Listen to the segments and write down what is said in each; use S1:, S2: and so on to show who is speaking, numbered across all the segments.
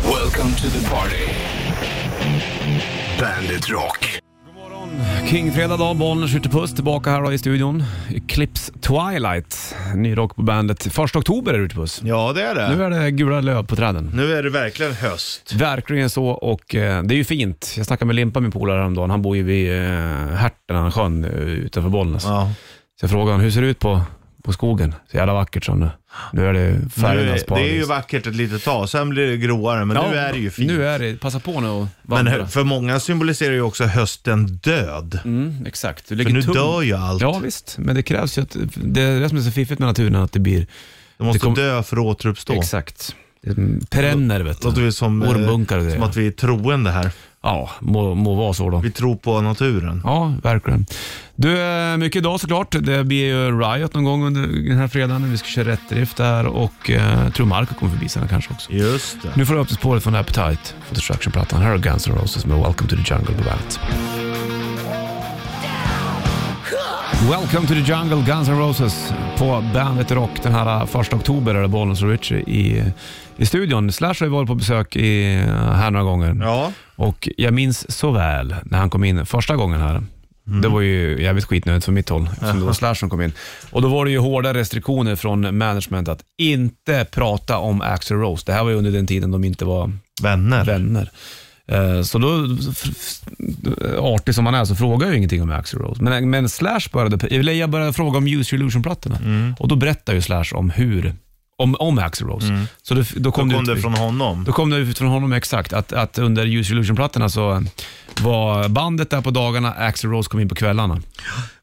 S1: Welcome to the party. Bandit Rock.
S2: Kingfredag dag, Bollnäs skjuter puss tillbaka här då i studion. Clips Twilight, ny rock på bandet. Första oktober är det ute puss.
S3: Ja, det är det.
S2: Nu är det gula löv på träden.
S3: Nu är det verkligen höst.
S2: Verkligen så och eh, det är ju fint. Jag snackade med Limpa, min polare häromdagen. Han bor ju vid eh, Härtan, sjön eh, utanför Bollnäs.
S3: Ja.
S2: Så jag frågade honom, hur ser det ut på, på skogen? Så jävla vackert som nu. Nu är det
S3: Nu är,
S2: färgernas
S3: det är ju
S2: paradis.
S3: vackert ett litet tag, sen blir det gråare, men nu är det ju fint.
S2: Nu är det, passa på nu och
S3: men
S2: vandra.
S3: hö- för många symboliserar ju också hösten död.
S2: Mm, exakt. Du
S3: För
S2: lägger
S3: nu
S2: tum-
S3: dör ju allt.
S2: Ja visst, men det krävs ju att, det är det som är så fiffigt med naturen, att det blir
S3: De måste
S2: det kom-
S3: dö för att återuppstå.
S2: Exakt. Mm, Perenner vet
S3: Låter
S2: du.
S3: vi som, eh,
S2: Ormbunkar och det.
S3: som att vi är troende här.
S2: Ja, må, må vara så då.
S3: Vi tror på naturen.
S2: Ja, verkligen. Du, eh, mycket idag såklart. Det blir ju Riot någon gång under den här fredagen. Vi ska köra rätt drift där och eh, jag tror Marco kommer förbi sen kanske också.
S3: Just det.
S2: Nu får du upp till spåret från Appetite, från Destruction-plattan. Här har Guns N' Roses med Welcome to the Jungle på bandet. Welcome to the Jungle, Guns N' Roses på Bandet Rock. Den här äh, första oktober är det Bollnäs och Richie i, i studion. Slash har ju varit på besök i, äh, här några gånger.
S3: Ja,
S2: Och jag minns så väl när han kom in första gången här.
S3: Mm.
S2: Det var ju jävligt skitnödigt från mitt håll, eftersom det var Slash som kom in. Och då var det ju hårda restriktioner från management att inte prata om Axl Rose. Det här var ju under den tiden de inte var
S3: vänner.
S2: vänner. Eh, Så då, f- f- artig som han är, så frågar jag ju ingenting om Axl Rose. Men, men Slash började, eller jag började fråga om Use Your Illusion-plattorna.
S3: Mm.
S2: Och då berättar ju Slash om hur, om, om Axl Rose. Så då, då kom,
S3: Mm. Då kom
S2: ut-
S3: det från honom.
S2: då kom det ut från honom exakt att, att under Use Illusion-plattorna så var bandet där på dagarna, Axl Rose kom in på kvällarna.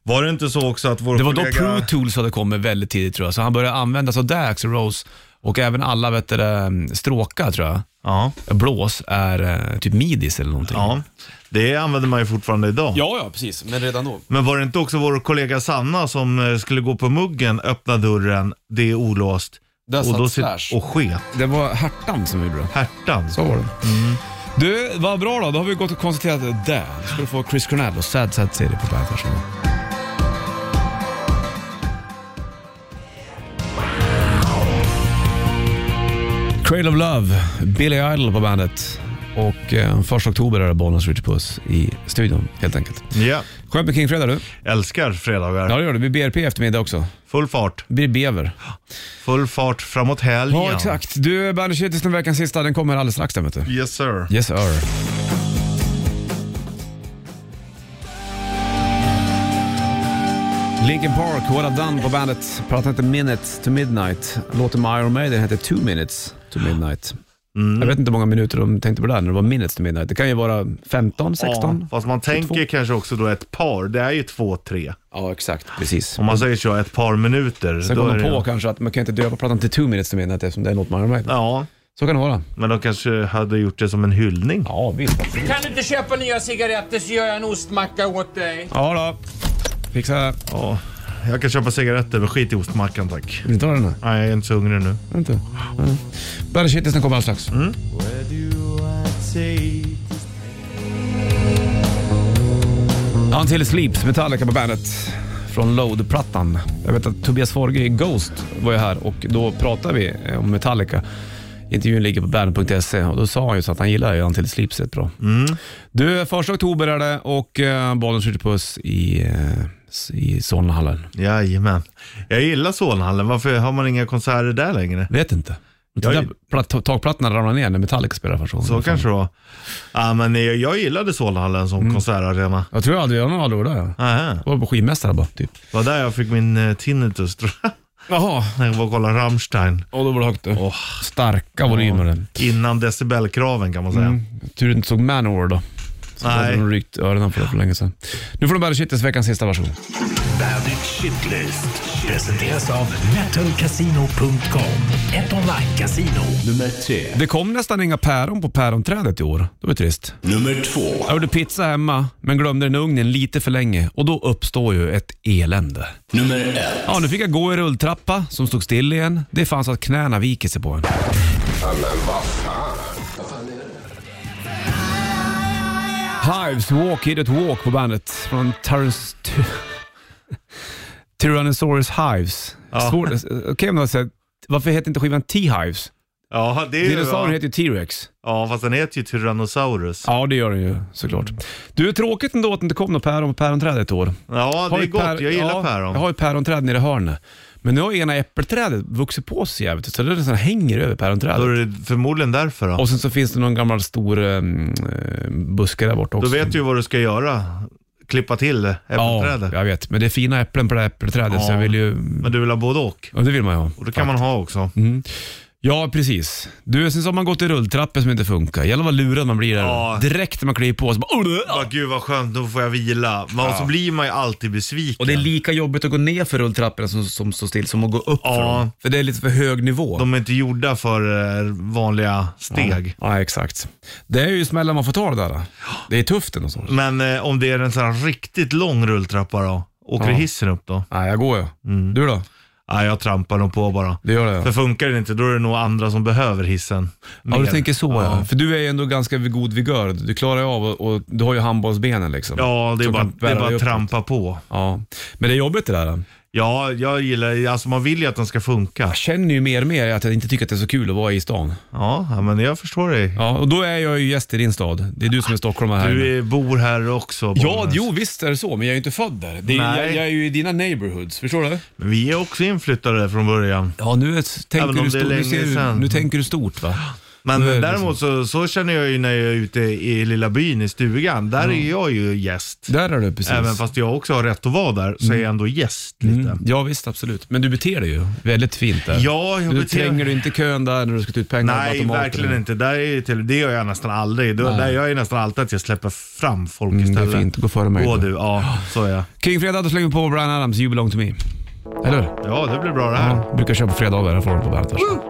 S3: Var det inte så också att vår
S2: Det var då
S3: kollega...
S2: Pro Tools hade kommit väldigt tidigt tror jag, så han började använda sig av det, Axl Rose. Och även alla vet du, det, mm, stråkar tror jag,
S3: Ja,
S2: blås, är eh, typ midis eller någonting.
S3: ja. Det använder man ju fortfarande idag.
S2: ja, ja precis. Men redan då.
S3: Men var det inte också vår kollega Sanna som eh, skulle gå på muggen, öppna dörren, det är olåst.
S2: Där
S3: och
S2: satt
S3: då
S2: Slash.
S3: Och sket.
S2: Det var Härtan som gjorde det.
S3: Härtan.
S2: Så var det. Du, vad bra då. Då har vi gått och konstaterat det. där. Nu ska du få Chris Cornell och Sad Sad City på bandet. Varsågod. Cradle of Love, Billy Idol på bandet. Och eh, första oktober är det Bollnäs Ritchie Puss i studion helt enkelt.
S3: Ja,
S2: Skönt med Kingfredag du.
S3: älskar fredagar.
S2: Ja det gör du. Vi BRP i eftermiddag också.
S3: Full fart.
S2: Det blir bever.
S3: Full fart framåt helgen.
S2: Ja exakt. Du, Bandet den veckans sista, den kommer alldeles strax där vet du.
S3: Yes sir.
S2: Yes sir. Linkin Park, What I've Done på bandet. Pratar inte minutes to midnight. Låten med Iron Maiden heter Two minutes to midnight.
S3: Mm.
S2: Jag vet inte hur många minuter de tänkte på det där när det var minutes to midnight. Det kan ju vara 15, 16.
S3: Ja, fast man tänker kanske också då ett par, det är ju två, tre.
S2: Ja, exakt. Precis.
S3: Om man säger så, ett par minuter.
S2: Sen
S3: då
S2: kom
S3: är
S2: de
S3: det-
S2: på kanske att man kan inte döpa plattan till Two minutes to midnight eftersom det är något med Iron Maiden.
S3: Ja,
S2: Så kan det vara.
S3: men de kanske hade gjort det som en hyllning.
S2: Ja, visst.
S4: Kan du inte köpa nya cigaretter så gör jag en ostmacka åt dig.
S2: Ja då. Fixa.
S3: Ja. Jag kan köpa cigaretter, men skit i ostmackan tack.
S2: Vill du inte ha den här?
S3: Nej, jag är inte så hungrig nu.
S2: Är det Inte. Mm. Bandet Shitlisten kommer alldeles strax. Until It Sleeps, Metallica på bandet. Från Load-plattan. Jag vet att Tobias Forge i Ghost var ju här och då pratade vi eh, om Metallica. Intervjun ligger på bandet.se och då sa han ju så att han gillar ju Until It Sleeps rätt bra.
S3: Mm.
S2: Du, första oktober är det och eh, bollen skjuter puss i, eh, i Solnahallen.
S3: Jajamän. Jag gillar Solnahallen. Varför har man inga konserter där längre?
S2: Vet inte.
S3: Jag-
S2: Jag... Takplattorna ramlar ner när Metallica spelar första gången.
S3: Så kanske det var. Ja, men jag, jag gillade Solnahallen som
S2: Mm.
S3: konsertarena.
S2: Jag tror jag aldrig, jag har nog aldrig varit där. Jag
S3: Aha.
S2: var på skivmästare bara, typ.
S3: Det var där jag fick min eh, tinnitus tror jag.
S2: Jaha.
S3: När jag var och kollade Rammstein.
S2: Och då var det högt du. Starka volymer.
S3: Innan decibelkraven kan man säga.
S2: Tur du inte såg Manowar då. Så
S3: Nej.
S2: hade de rykt öronen på det för länge sedan. Nu får de bära shitlist veckans sista, varsågod.
S1: Bandit Shitlist presenteras av metalcasino.com. Ett online-casino. Nummer tre.
S2: Det kom nästan inga päron på päronträdet i år. Det var trist.
S1: Nummer två.
S2: Jag gjorde pizza hemma, men glömde den i ugnen lite för länge och då uppstår ju ett elände.
S1: Nummer ett.
S2: Ja, nu fick jag gå i rulltrappa som stod still igen. Det fanns att knäna viker sig på en. Hives Walk Idiot Walk på bandet från Tyrans... Ty- eh, alltså, Tyrannosaurus Hives. Svårt. Okej om du har sett- Varför heter inte skivan T-Hives?
S3: Ja, det är ju...
S2: Dinosaurien heter ju T-Rex.
S3: Ja, fast den heter ju Tyrannosaurus.
S2: Ja, det gör den ju såklart. Du, tråkigt ändå att det inte kom något päron på päronträdet i år.
S3: Ja, det är
S2: ju
S3: gott.
S2: pär-
S3: jag gillar
S2: ja,
S3: päron.
S2: Jag har ju päronträd nere i hörnet. Men nu har ju ena äppelträdet vuxit på sig jävligt, så det nästan hänger över päronträdet.
S3: Då är det förmodligen därför då.
S2: Och sen så finns det någon gammal stor um, buske där borta
S3: Då
S2: också.
S3: vet du ju vad du ska göra. Klippa till
S2: Ja,
S3: äppelträdet.
S2: jag vet. Men det är fina äpplen på det här äppelträdet, så
S3: Ja.
S2: jag vill ju...
S3: Men du vill ha både och.
S2: Ja, det vill man ju ha.
S3: Och det kan man ha också.
S2: Ja, precis. Du, sen så har man gått i rulltrappor som inte funkar. Jävlar vad lurad man blir där.
S3: Ja.
S2: Direkt när man kliver på så bara...
S3: Bara, gud vad skönt, nu får jag vila. Men så blir man ju alltid besviken.
S2: Och det är lika jobbigt att gå ner för rulltrapporna som, som står still som att gå upp
S3: Ja.
S2: för dem. För det är lite för hög nivå.
S3: De är inte gjorda för eh, vanliga steg.
S2: Ja, exakt. Det är ju smällen man får ta det där. Det är tufft ändå. så.
S3: Men eh, om det är en sån här riktigt lång rulltrappa då? Åker
S2: Ja.
S3: hissen upp då?
S2: Nej, jag går ju. Du då?
S3: Nej, jag trampar nog på bara.
S2: Det gör jag.
S3: Mm. För funkar det inte, då är det nog andra som behöver hissen.
S2: Ja, du
S3: mer.
S2: tänker så ja. För du är ju ändå ganska vid god vigör. Du klarar ju av och, och du har ju handbollsbenen liksom.
S3: Ja, det är
S2: Som
S3: bara,
S2: kan
S3: det är
S2: bära
S3: bara
S2: dig
S3: att
S2: uppåt.
S3: trampa på.
S2: Ja. Men det är jobbigt det där.
S3: Ja, jag gillar, alltså man vill ju att den ska funka.
S2: Jag känner ju mer och mer att jag inte tycker att det är så kul att vara i stan.
S3: Ja, ja, men jag förstår dig.
S2: Ja, och då är jag ju gäst i din stad. Det är du som är stockholmare här.
S3: Du är, bor här också.
S2: Ja,
S3: Bollnäs.
S2: jo visst är det så, men jag är ju inte född där. Det är,
S3: Nej.
S2: jag, jag är ju i dina neighborhoods, förstår du?
S3: Men vi är också inflyttade från början.
S2: Ja, nu
S3: Även om
S2: tänker,
S3: det är
S2: du, stort, nu,
S3: länge
S2: ser, du-
S3: sedan.
S2: nu tänker du stort va?
S3: Men
S2: Nu är det liksom-
S3: däremot så, så känner jag ju när jag är ute i lilla byn i stugan. Där är jag ju gäst.
S2: Där är du precis.
S3: Även fast jag också har rätt att vara där, så är jag ändå gäst lite.
S2: Mm, ja visst, absolut. Men du beter dig ju väldigt fint där.
S3: Ja, jag
S2: du
S3: beter-
S2: tränger du inte kön där när du ska ta ut pengar på
S3: Nej,
S2: automaterna.
S3: verkligen inte. Där är ju till, det gör jag nästan aldrig. Då, där gör jag nästan alltid att jag släpper fram folk
S2: Mm, det
S3: istället.
S2: är fint. Gå före mig.
S3: Gå
S2: då.
S3: du, ja. Så är jag.
S2: Kring fredag då slänger vi på Brian Adams You belong to me. Eller hur?
S3: Ja, det blir bra det här.
S2: Ja, brukar köra på fredagar. Här får du på bandet. Woo!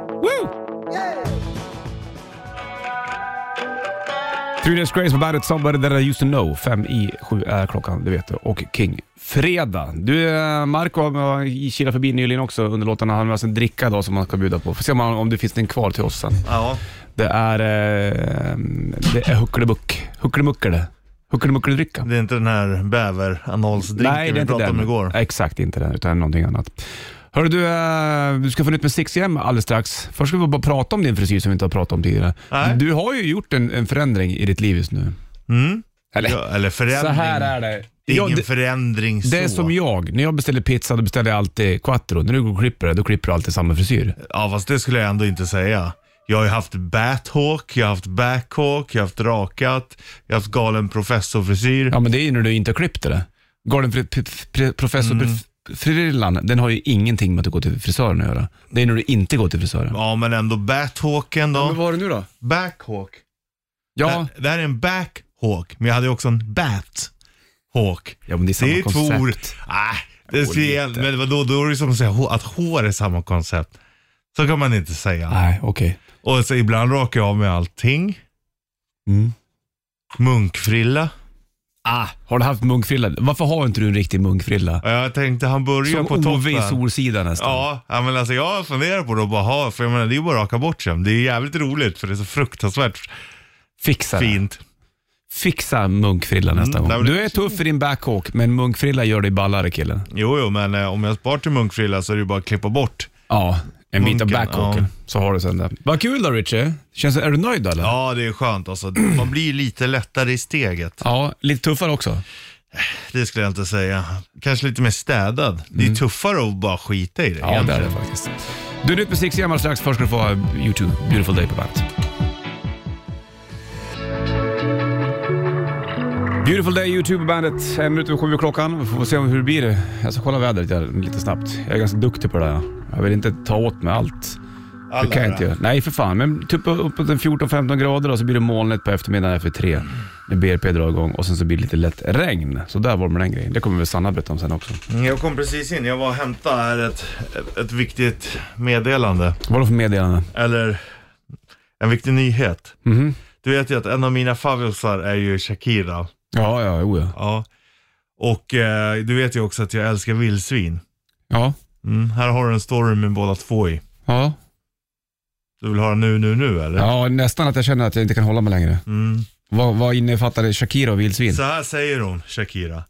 S2: Three Days Grace på bandet, Somebody That I Used To Know. Fem i sju är klockan, det vet du. Och King. Fredag. Du, eh, Marco har kilat förbi nyligen också under låtarna. Han har alltså en dricka idag som man ska bjuda på. Får se om, han- om det finns en kvar till oss sen.
S3: Ja.
S2: Det är... Eh, det är hucklebuck. Hucklemuckle. Hucklemuckeldricka.
S3: Det är inte den här bäveranalsdrinken vi pratade om igår.
S2: Exakt, inte den, utan någonting annat. Hörru du, eh, du ska få nytt med 6M alldeles strax. Först ska vi bara prata om din frisyr som vi inte har pratat om tidigare.
S3: Nej.
S2: Du har ju gjort en, en förändring i ditt liv just nu.
S3: Mm.
S2: Eller,
S3: Ja, eller förändring.
S2: så här är det.
S3: Det är
S2: Ja,
S3: ingen
S2: det,
S3: förändring
S2: det är
S3: så.
S2: som jag. När jag beställer pizza, då beställer jag alltid quattro. När du går och klipper dig, då klipper du alltid samma frisyr.
S3: Ja, fast det skulle jag ändå inte säga. Jag har ju haft bathawk, jag har haft backhawk, jag har haft rakat, jag har haft galen professorfrisyr.
S2: Ja, men det är ju när du inte har klippt det. Galen fri- p- p- professor
S3: Mm.
S2: pr- frillan, den har ju ingenting med att du går till frisören att göra. Det är när du inte går till frisören.
S3: Ja, men ändå bathawken då.
S2: var det nu då?
S3: Backhawk.
S2: Ja,
S3: Det, det här är en backhawk, men jag hade ju också en bathawk.
S2: ja men det är samma
S3: Det är två ord.
S2: koncept.
S3: Nej, det
S2: går
S3: ser igen.
S2: lite.
S3: Men vadå, då är det som att säga hå- att hår är samma koncept. Så kan man inte säga.
S2: Nej, okej.
S3: Och så ibland rakar jag av mig allting.
S2: Mm.
S3: Munkfrilla.
S2: Ah, har du haft munkfrilla? Varför har inte du en riktig munkfrilla?
S3: Ja, Jag tänkte han börjar
S2: Som
S3: på toppen.
S2: Ove i Solsidan nästan.
S3: Ja, ja, men alltså jag funderar på det och bara, ha, för jag menar det är ju bara att raka bort sen. Det är jävligt roligt för det är så fruktansvärt
S2: Fixa det.
S3: fint.
S2: Fixa munkfrilla nästa
S3: Mm, nej,
S2: gång.
S3: men
S2: Du
S3: det-
S2: är tuff i din backhawk, men munkfrilla gör dig ballare killen.
S3: Jo, jo, men eh, om jag spar till munkfrilla så är det ju bara att klippa bort.
S2: Ja, en bit av
S3: Munken,
S2: backhawken.
S3: ja.
S2: Så har du sen det. Vad kul då Richie. Känns, är du nöjd då, eller?
S3: Ja, det är skönt alltså. Man blir lite lättare i steget.
S2: ja, lite tuffare också.
S3: Det skulle jag inte säga. Kanske lite mer städad. Det är ju tuffare att bara skita i det.
S2: Mm. Ja, det är det faktiskt. Du, nytt musik ser man strax. Först ska du få eh, YouTube, Beautiful Day på bandet. Beautiful Day, YouTube på bandet. En minut över sju är klockan. Vi får se hur det blir. Jag ska kolla vädret där lite snabbt. Jag är ganska duktig på det där. Jag vill inte ta åt mig allt.
S3: Alla
S2: det kan jag
S3: är
S2: inte göra. Nej, för fan. Men typ uppåt en 14-15 grader och så blir det molnigt på eftermiddagen efter tre. När BRP drar igång och sen så blir det lite lätt regn. Så där var det med den grejen. Det kommer väl Sanna berätta om sen också.
S3: Jag kom precis in. Jag var och hämtade här ett, ett viktigt meddelande.
S2: Vad är det för meddelande?
S3: Eller en viktig nyhet.
S2: Mhm.
S3: Du vet ju att en av mina favvisar är ju Shakira.
S2: Ja, ja, jo, ja.
S3: Ja. Och eh, du vet ju också att jag älskar vildsvin.
S2: Ja,
S3: Mm, här har du en story med båda två i.
S2: ja.
S3: Du vill ha den nu, nu, nu eller?
S2: Ja, nästan att jag känner att jag inte kan hålla mig längre.
S3: Mm.
S2: Vad, vad innefattade Shakira och vildsvin?
S3: Så här säger hon, Shakira.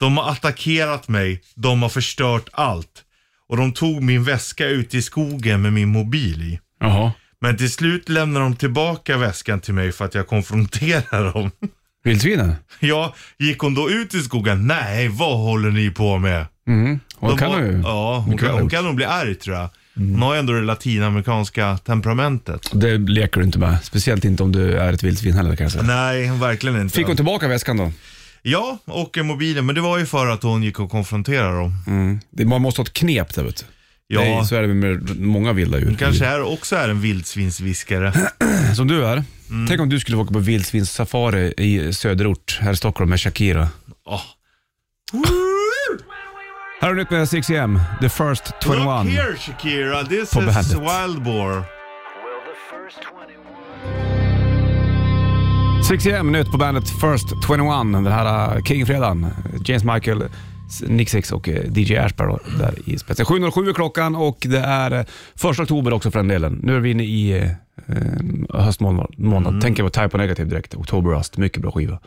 S3: De har attackerat mig, de har förstört allt. Och de tog min väska ute i skogen med min mobil i.
S2: Jaha.
S3: Men till slut lämnar de tillbaka väskan till mig för att jag konfronterar dem.
S2: Vildsvinen?
S3: Ja, gick hon då ut i skogen? Nej, vad håller ni på med?
S2: Mm. Och det kan
S3: var-
S2: hon ju.
S3: Ja,
S2: Det
S3: hon kan,
S2: ha
S3: hon
S2: gjort.
S3: kan nog bli arg tror jag. Hon har ju ändå det latinamerikanska temperamentet.
S2: Det leker du inte med. Speciellt inte om du är ett vildsvin heller kan jag säga.
S3: Nej, verkligen inte.
S2: Fick hon tillbaka väskan då?
S3: Ja, och mobilen. Men det var ju för att hon gick och konfronterade dem.
S2: Mm. Det- Man måste ha ett knep där vet du.
S3: Ja.
S2: Det är, så är det med många vilda djur.
S3: Kanske här också är en vildsvinsviskare.
S2: Som du är.
S3: Mm.
S2: Tänk om du skulle få åka på vildsvinssafari i söderort här i Stockholm med Shakira.
S3: Oh.
S2: Här har du nytt med 6am, The First 21.
S3: Look here Shakira, this
S2: På
S3: is
S2: bandet.
S3: wild boar.
S2: 6am nytt på bandet First 21. Den här uh, Kingfredagen. James Michael, S- Nick Six och eh, DJ Ashberg då, där i spetsen. 7.07 är klockan och det är eh, första oktober också för den delen. Nu är vi inne i eh, eh, höstmånad. Månad. Tänker på Type O Negative direkt. Oktoberrust, mycket bra skiva.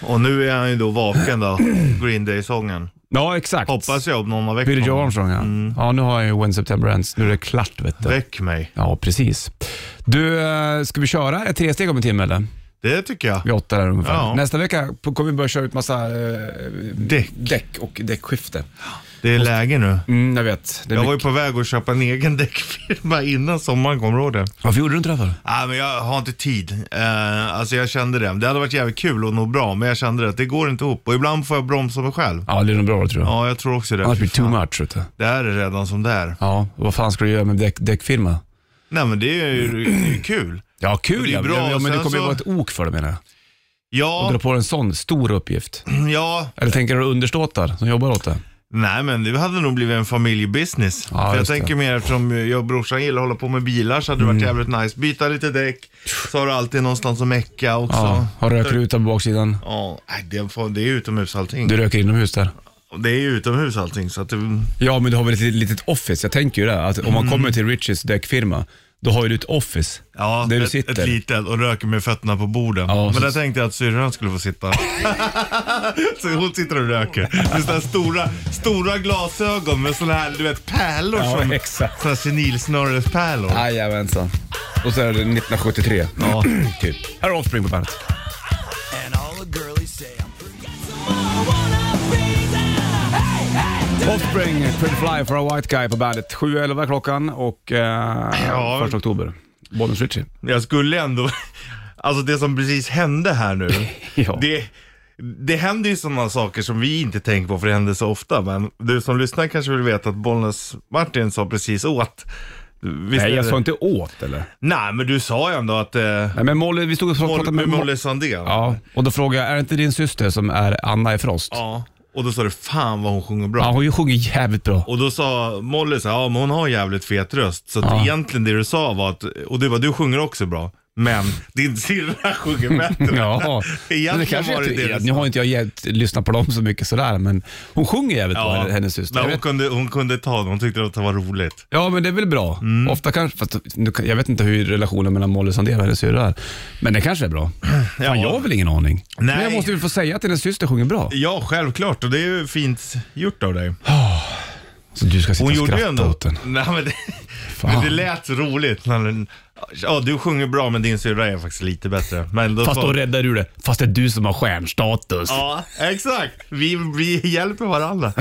S3: Och nu är han ju då vaken då, Green Day-sången.
S2: Ja, exakt.
S3: Hoppas jag om någon har väckt
S2: Billy Joe
S3: honom.
S2: Armstrong ja. Ja, nu har jag ju When September Ends. Nu är det klart vet du.
S3: Väck mig.
S2: Ja, precis. Du, eh, ska vi köra ett tresteg om en timme eller?
S3: Det tycker jag.
S2: Vid åtta där ungefär.
S3: Ja.
S2: Nästa vecka på- kommer vi börja köra ut massa eh,
S3: Däck.
S2: däck och däckskifte.
S3: Det är läge nu.
S2: Mm, jag vet. Det är
S3: Jag var ju
S2: mycket...
S3: på väg att köpa en egen däckfirma innan sommaren, kommer du ihåg det?
S2: Varför gjorde du inte det för?
S3: Nej, men jag har inte tid. Eh, alltså jag kände det. Det hade varit jävligt kul och nog bra, men jag kände det att det går inte ihop. Och ibland får jag bromsa mig själv.
S2: Ja, det är nog bra tror jag.
S3: Ja, jag tror också det.
S2: Annars blir det
S3: Fy fan.
S2: too much. Vet du.
S3: Det här är redan som det är.
S2: Ja, och vad fan ska du göra med däck, däckfirma?
S3: Nej, men det är
S2: Mm.
S3: ju det är ju kul.
S2: Ja, kul
S3: Det är
S2: ja.
S3: bra,
S2: ja, ja, men det
S3: sen
S2: kommer ju
S3: så-
S2: vara ett ok för dig menar jag.
S3: Ja,
S2: Dra på en sån stor uppgift.
S3: ja.
S2: Eller tänker du underståtar som jobbar åt det?
S3: Nej, men det hade nog blivit en familjebusiness.
S2: Ja,
S3: För jag
S2: just det. Mm.
S3: tänker mer eftersom jag och brorsan gillar att hålla på med bilar så hade det varit jävligt nice. Byta lite däck, så har du alltid någonstans att mecka också.
S2: Ja, har rökruta på baksidan.
S3: Ja, nej, det, får, det är utomhus allting.
S2: Du röker inomhus där.
S3: Det är ju utomhus allting så att mm, det...
S2: Ja, men du har väl ett litet office? Jag tänker ju det, att
S3: Mm.
S2: om man kommer till Richies däckfirma, då har ju du ett office
S3: Ja,
S2: där du
S3: ett, ett
S2: sitter.
S3: litet och röker med fötterna på borden.
S2: Ja,
S3: Men
S2: så-
S3: där tänkte jag att syrran skulle få sitta. så hon sitter och röker. Med sådana här stora, stora glasögon med sådana här, du vet, pärlor
S2: Ja,
S3: som...
S2: exakt.
S3: Sådana här senilsnörespärlor.
S2: Jajamensan. Och så är det 1973.
S3: Ja.
S2: typ. Här är Offspring på bandet. Offspring, Pretty Fly for a White Guy på bandet. 7.11 klockan och eh,
S3: Ja.
S2: 1 oktober. Bollnäs Ritchie.
S3: Jag skulle ändå... Alltså det som precis hände här nu.
S2: Ja.
S3: det, det händer ju sådana saker som vi inte tänker på för det händer så ofta. Men du som lyssnar kanske vill veta att Bollnäs Martin sa precis åt. Visst
S2: Nej,
S3: är
S2: jag
S3: det-
S2: sa inte åt eller?
S3: Nej, men du sa ju ändå att... Eh,
S2: Nej, men Molly, vi stod och
S3: Molly,
S2: pratade
S3: med
S2: med
S3: Molly Sandén.
S2: Ja, och då frågade jag, är det inte din syster som är Anna i Frost?
S3: Ja, Och då sa du, fan vad hon sjunger bra.
S2: Ja, hon sjunger jävligt bra.
S3: Och då sa Molly så här, ja men hon har jävligt fet röst. Så att egentligen det du sa var att, och du bara, du sjunger också bra. Men din syrra sjunger bättre.
S2: Ja,
S3: Egentligen
S2: men det kanske
S3: var det
S2: inte,
S3: det du
S2: nu
S3: sa.
S2: har inte jag gett, lyssnat på dem så mycket sådär, men hon sjunger jävligt bra, hennes syster.
S3: Men
S2: Jag
S3: hon,
S2: vet-
S3: kunde, hon kunde ta det, hon tyckte att det var roligt.
S2: Ja, men det är väl bra.
S3: Mm.
S2: Ofta kanske, fast nu, kan- jag vet inte hur relationen mellan Molly Sandén och hennes syrra är, men det kanske är bra. Fan, jag har väl ingen aning. Men jag måste väl få säga att hennes syster sjunger bra.
S3: Ja, självklart. Och det är ju fint gjort av dig.
S2: Så du ska sitta
S3: Hon
S2: och
S3: gjorde ju
S2: skratta
S3: ändå...
S2: åt den.
S3: Nej, men, det, men det lät roligt. När den, ja, du sjunger bra men din syrra är faktiskt lite bättre. Men då
S2: Fast
S3: sa-
S2: då räddar du det. Fast det är du som har stjärnstatus.
S3: Ja, exakt. Vi, vi hjälper varandra.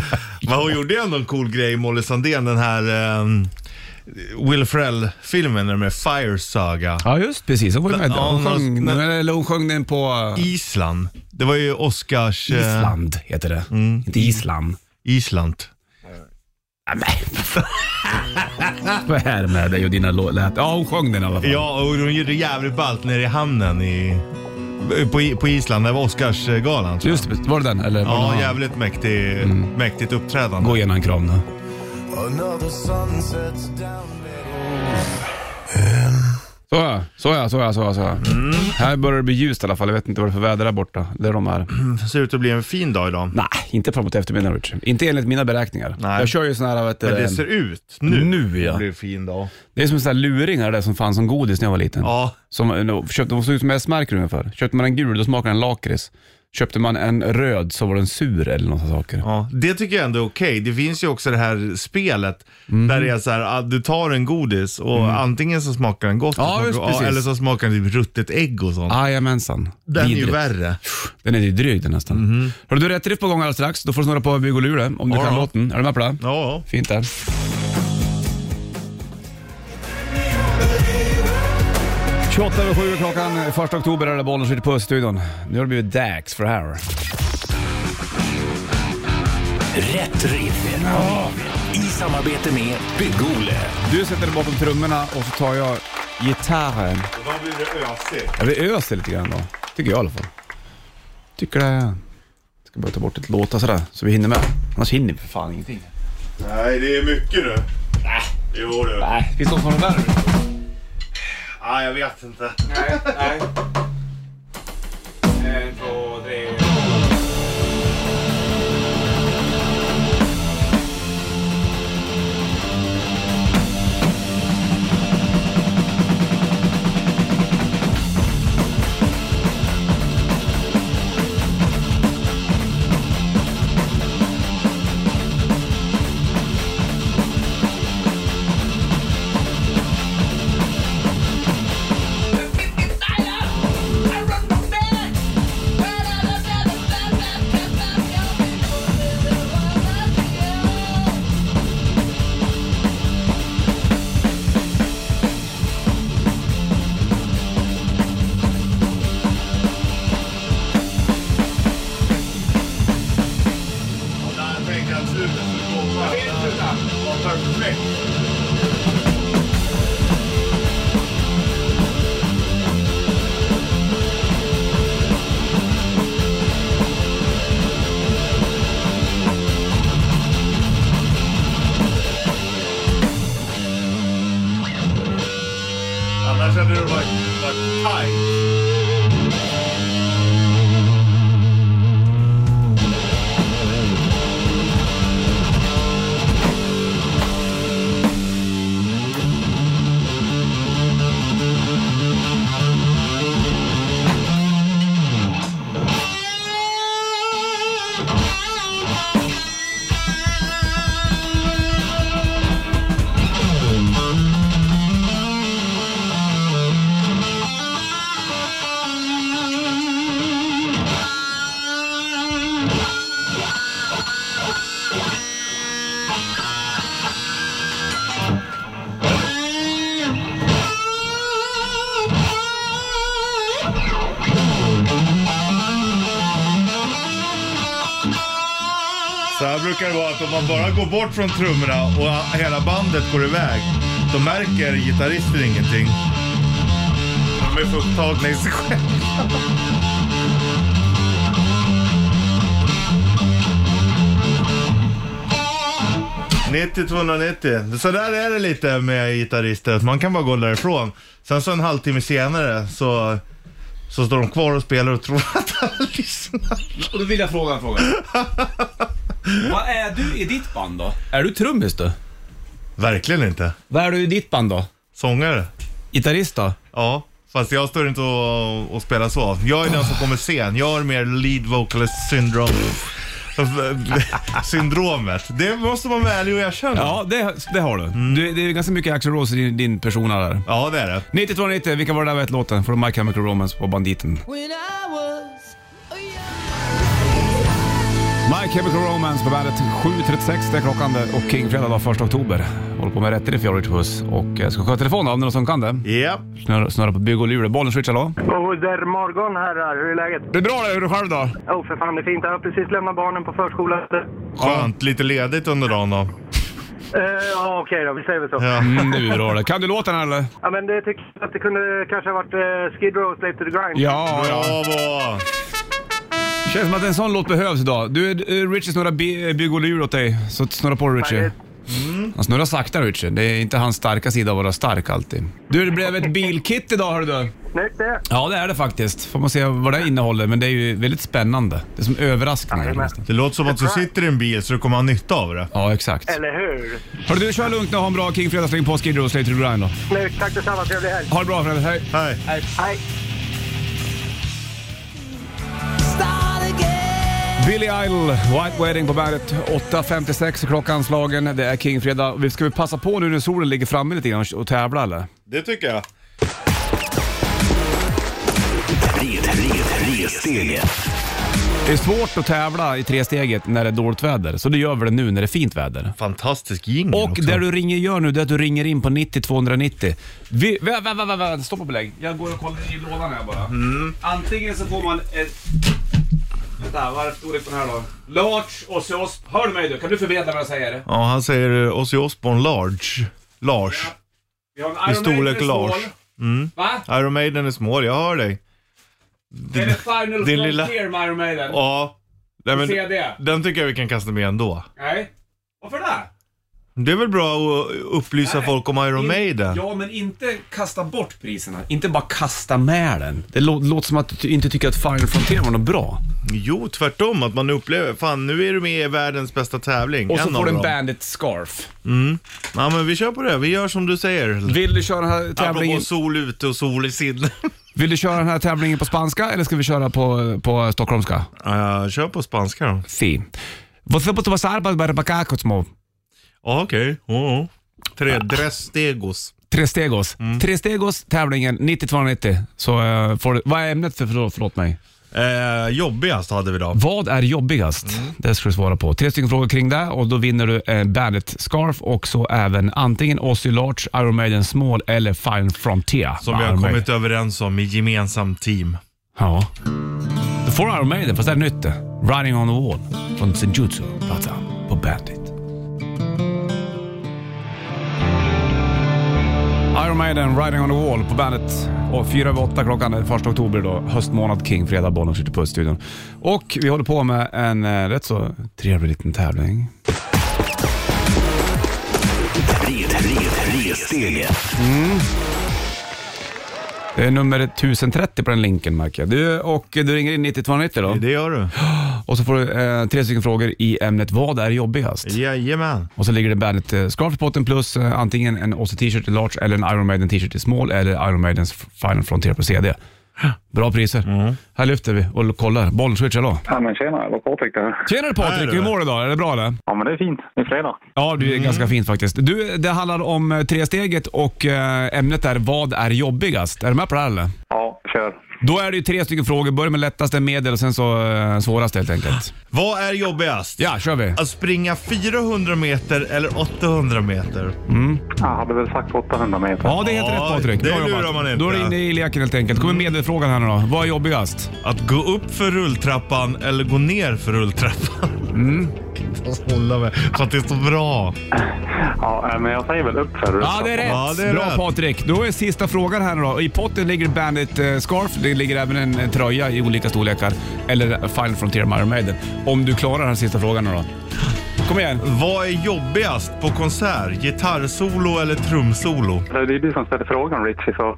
S3: Men hon gjorde ju ändå en cool grej, Molly Sandén, den här ehm, Will Ferrell-filmen när de är Fire Saga.
S2: Ja, just precis. Hon var ju med.
S3: Ja,
S2: Hon
S3: hon har-
S2: sjöng,
S3: men-
S2: eller hon sjöng den på
S3: Island. Det var ju Oscars... eh,
S2: Island, heter det.
S3: Mm.
S2: Inte Island.
S3: Island.
S2: Vad är det med dig och dina låtar? Ja, hon sjöng den i alla fall.
S3: Ja, och hon gjorde jävligt ballt nere i hamnen i, på, I- på Island. Det var Oscarsgalan. tror jag.
S2: Just det, var det den? Eller var det någon
S3: Ja,
S2: annan?
S3: jävligt mäktig,
S2: Mm.
S3: mäktigt uppträdande.
S2: Gå igenom en kram nu. Så ja, så ja, så ja, så ja. Så ja. Här börjar det bli ljust i alla fall. Jag vet inte vad det är för väder där borta. Där de är.
S3: Det ser ut att bli en fin dag idag.
S2: Nej, inte framåt eftermiddagen Richard. Inte enligt mina beräkningar.
S3: Nej.
S2: Jag kör ju sån här, vet du,
S3: Men det ser ut nu.
S2: Nu, ja.
S3: Det blir en fin dag.
S2: det är som sån här luringar där som fanns som godis när jag var liten. eh,
S3: Ja.
S2: Som, no, köpte, de såg ut som S-märken ungefär. Köpte man en gul, då smakade den lakrits. Köpte man en röd så var den sur eller något sånt saker.
S3: Ja, det tycker jag ändå är okej. Det finns ju också det här spelet
S2: Mhm.
S3: där det är så här, ah, du tar en godis och antingen så smakar den gott
S2: Mm. Ja,
S3: och smakar-
S2: just precis.
S3: eller så smakar den typ ruttet ägg och sånt.
S2: Jajamensan.
S3: Den är ju
S2: Vidrigt.
S3: värre.
S2: Den är ju dryg den nästan. Har du rätt riff på gång alldeles strax? Då får du snurra på Bygg och Lure om du
S3: Mhm. Ja,
S2: kan
S3: ja.
S2: låten. Är du med på det?
S3: Ja,
S2: Fint där. över sju är klockan, 1 oktober är det bollen skjuter på studion. Nu har det blivit dags för det här.
S1: Rätt riff. I samarbete med Bygg-Ole.
S2: Du sätter dig bakom trummorna och så tar jag gitarren.
S3: och då blir det ösigt.
S2: Ja, vi öser lite grann då. Tycker jag i alla fall. Tycker det. Ska bara ta bort ett låtar sådär, så vi hinner med. Annars hinner vi för fan ingenting.
S3: Nej, det är mycket nu. Äh. Jo du.
S2: Nej, finns det något som är värre?
S3: Ah, jag vet inte.
S2: Nej, nej. En, två, tre.
S3: Jag tänkte att slutet skulle gå perfekt. Annars hade det varit, varit tajt. Så här brukar det vara att om man bara går bort från trummorna och hela bandet går iväg, då märker gitarrister ingenting. De är för upptagna i sig själva. ...90-290. Så där är det lite med gitarrister, att man kan bara gå därifrån. Sen så en halvtimme senare så, så står de kvar och spelar och tror att alla lyssnar.
S2: Och då vill jag fråga en fråga. Vad är du i ditt band då? Är du trummis du?
S3: Verkligen inte.
S2: Vad är du i ditt band då?
S3: Sångare.
S2: Gitarrist då?
S3: Ja, fast jag står inte och, och spelar så. Jag är den som kommer sen. Jag har mer lead vocalist syndrome. Syndromet. Det måste man vara ärlig och erkänna. Ja.
S2: Ja, det, det har du. du. Det är ganska mycket Axl Rose i din, din persona där.
S3: ja, det är det.
S2: 9290, vilka var det där vet låten? Från My Chemical Romance på Banditen.
S5: When I was a young
S2: My Chemical Romance på bandet 7.36, det är klockan det och Kingfredag var 1 oktober. Håller på med rätter i fjolårigt puss och eh, ska kolla telefon om det är någon som kan det.
S3: Ja.
S2: Snurra, snurra på bygg och lure. Bollen switch, hallå?
S6: Och där morgon herrar, hur är läget?
S2: Det är bra det, hur är det själv då?
S6: Åh oh, för fan det är fint, jag har precis lämnat barnen på förskolan.
S3: Skönt. Lite ledigt under dagen då.
S6: Eh, Ja okej då, vi säger väl så. Ja.
S3: Ja.
S2: Mm, det är bra det. Kan du låten här, eller?
S6: men det tycker jag att det kunde kanske ha varit eh, Skid Row, Slave to the Grind.
S2: Ja, ja.
S3: Bravo!
S2: Känns som att en sån låt behövs idag. Du, eh, Richie snurrar bi- bygg och lure åt dig. Så snurra på Richie. Mm.
S6: Nej,
S2: Han snurrar sakta Richie. Det är inte hans starka sida att vara stark alltid. Du, det blev ett bilkit idag hörru du.
S6: Snyggt det!
S2: Ja, det är det faktiskt. Får man se vad det innehåller, men det är ju väldigt spännande. Det är som överraskningar.
S6: Jajamän.
S2: nästan.
S3: Det låter som att du sitter i en bil så du kommer ha nytta av det.
S2: Ja, exakt.
S6: Eller hur?
S2: Hörru du, kör lugnt nu och ha en bra King Fredagsling på Skid Row, Slay to the Grind då.
S6: Snyggt, tack detsamma, trevlig helg!
S2: Ha det bra Fredrik, hej.
S3: Hej.
S6: Hej!
S5: star that
S2: Billy Idol, White Wedding på bandet. 8.56 är klockan slagen. Det är Kingfredag. Vi ska vi passa på nu när solen ligger framme lite grann och tävla eller?
S3: Det tycker jag.
S1: Red, red, ressteget.
S2: Det är svårt att tävla i tresteget när det är dåligt väder, så det gör vi det nu när det är fint väder.
S3: Fantastisk jingel
S2: Och
S3: också.
S2: det du ringer gör nu det är att du ringer in på 90 290. Vi, vä, vä, vä, vä, vä, stopp och belägg. Jag går och kollar i lådan här bara.
S3: Mm.
S2: Antingen så får man ett... Vänta, varför stod det på den här då? Large och sås. Hör du mig du? Kan du förmedla vad jag säger?
S3: Ja, han säger eh, Ozzy Osbourne Large. Lars.
S2: Vi har en
S3: I
S2: Iron Maiden
S3: storlek Mm.
S2: small.
S3: Lars.
S2: Va?
S3: Iron Maiden är small, jag hör dig.
S2: Är det Final
S3: din
S2: Frontier
S3: lilla-
S2: med Iron Maiden?
S3: Ja. Nej, men,
S2: CD?
S3: den tycker jag vi kan kasta med ändå.
S2: Nej. Varför det?
S3: Det är väl bra att upplysa
S2: Nej.
S3: folk om Iron
S2: In-
S3: Maiden?
S2: Ja, men inte kasta bort priserna. Inte bara kasta med den. Det lå- låter som att du ty- inte tycker att Final Frontier var något bra.
S3: Jo, tvärtom. Att man upplever, fan nu är du med i världens bästa tävling.
S2: Och så
S3: en
S2: får
S3: av
S2: du en
S3: dem.
S2: Bandit Scarf.
S3: Ja, men vi kör på det. Vi gör som du säger.
S2: Vill du köra den här tävlingen,
S3: Apropå sol ute och sol i sinne.
S2: vill du köra den här tävlingen på spanska eller ska vi köra på, på stockholmska?
S3: uh, kör på spanska då.
S2: Si. Vos podemos pasar para para acá, Cosmo.
S3: Ja, okej. Oh, oh. Tre drestegos.
S2: Tre stegos. Tre stegos tävlingen 90-290. Så eh, får du, vad är ämnet för, förlåt, förlåt mig?
S3: Eh, jobbigast hade vi då.
S2: Vad är jobbigast?
S3: Mm.
S2: Det ska du svara på. Tre stycken frågor kring det och då vinner du eh, Bandet Scarf och så även antingen Ozzy Larch, Iron Maiden Small eller Fine Frontier.
S3: Som vi har
S2: Iron Maiden.
S3: kommit överens om i gemensamt team.
S2: Ja. Du får Iron Maiden, fast det är nytt det. Riding on the wall från Senjutsu, plattan på Bandit. Iron Maiden, Riding on the Wall på bandet. Och fyra över åtta klockan den 1 oktober idag. Höstmånad King, fredag, bollen skjuter på studion. Och vi håller på med en eh, rätt så trevlig liten tävling.
S1: Red, red, ressteget.
S2: Mm. Det är nummer 1030 på den länken märker jag. Du, och du ringer in 9290 då.
S3: Det gör du.
S2: Och så får du eh, tre stycken frågor i ämnet Vad är jobbigast?
S3: Jajamän.
S2: Och så ligger det bandet eh, Scarf i potten plus eh, antingen en Ozzy t-shirt i large eller en Iron Maiden t-shirt i small eller Iron Maidens Final Frontier på CD. Bra priser. Här lyfter vi och kollar. Bollenswitch, hallå.
S7: Ja, men tjena, det var Patrik där.
S2: Tjenare Patrik,
S3: du.
S2: hur mår du idag? Är det bra eller?
S7: Ja, men det är fint. Det är fredag.
S2: Ja, det är ganska fint faktiskt. Du, det handlar om eh, tresteget och eh, ämnet är Vad är jobbigast? Är du med på det här eller?
S7: Ja, kör.
S2: Då är det ju tre stycken frågor. Börja med lättaste, medel och sen så eh, svåraste helt enkelt.
S3: Vad är jobbigast?
S2: Ja, kör vi.
S3: Att springa 400 meter eller 800 meter?
S7: Jag hade väl sagt 800 meter.
S2: Ja, det är helt
S3: Ja,
S2: rätt Patrik.
S3: det
S2: Bra
S3: lurar
S2: jobbat.
S3: man inte.
S2: Då är du inne i leken helt enkelt. kommer medelfrågan här nu då. Vad är jobbigast?
S3: Att gå upp för rulltrappan eller gå ner för rulltrappan? Mm. Jag kan inte hålla mig. För att det är så bra.
S7: Ja, eh, men jag säger väl upp för
S2: Ja, det är rätt.
S3: Ja, det är
S2: Bra
S3: rätt.
S2: Patrik. Då är sista frågan här nu då. I potten ligger Bandit eh, Scarf. Det ligger även en, en tröja i olika storlekar. Eller Final Frontier med Iron Maiden. Om du klarar den här sista frågan nu då. Kom igen.
S3: Vad är jobbigast på konsert? Gitarrsolo eller trumsolo?
S7: Det är ju du som ställer frågan, Richie, så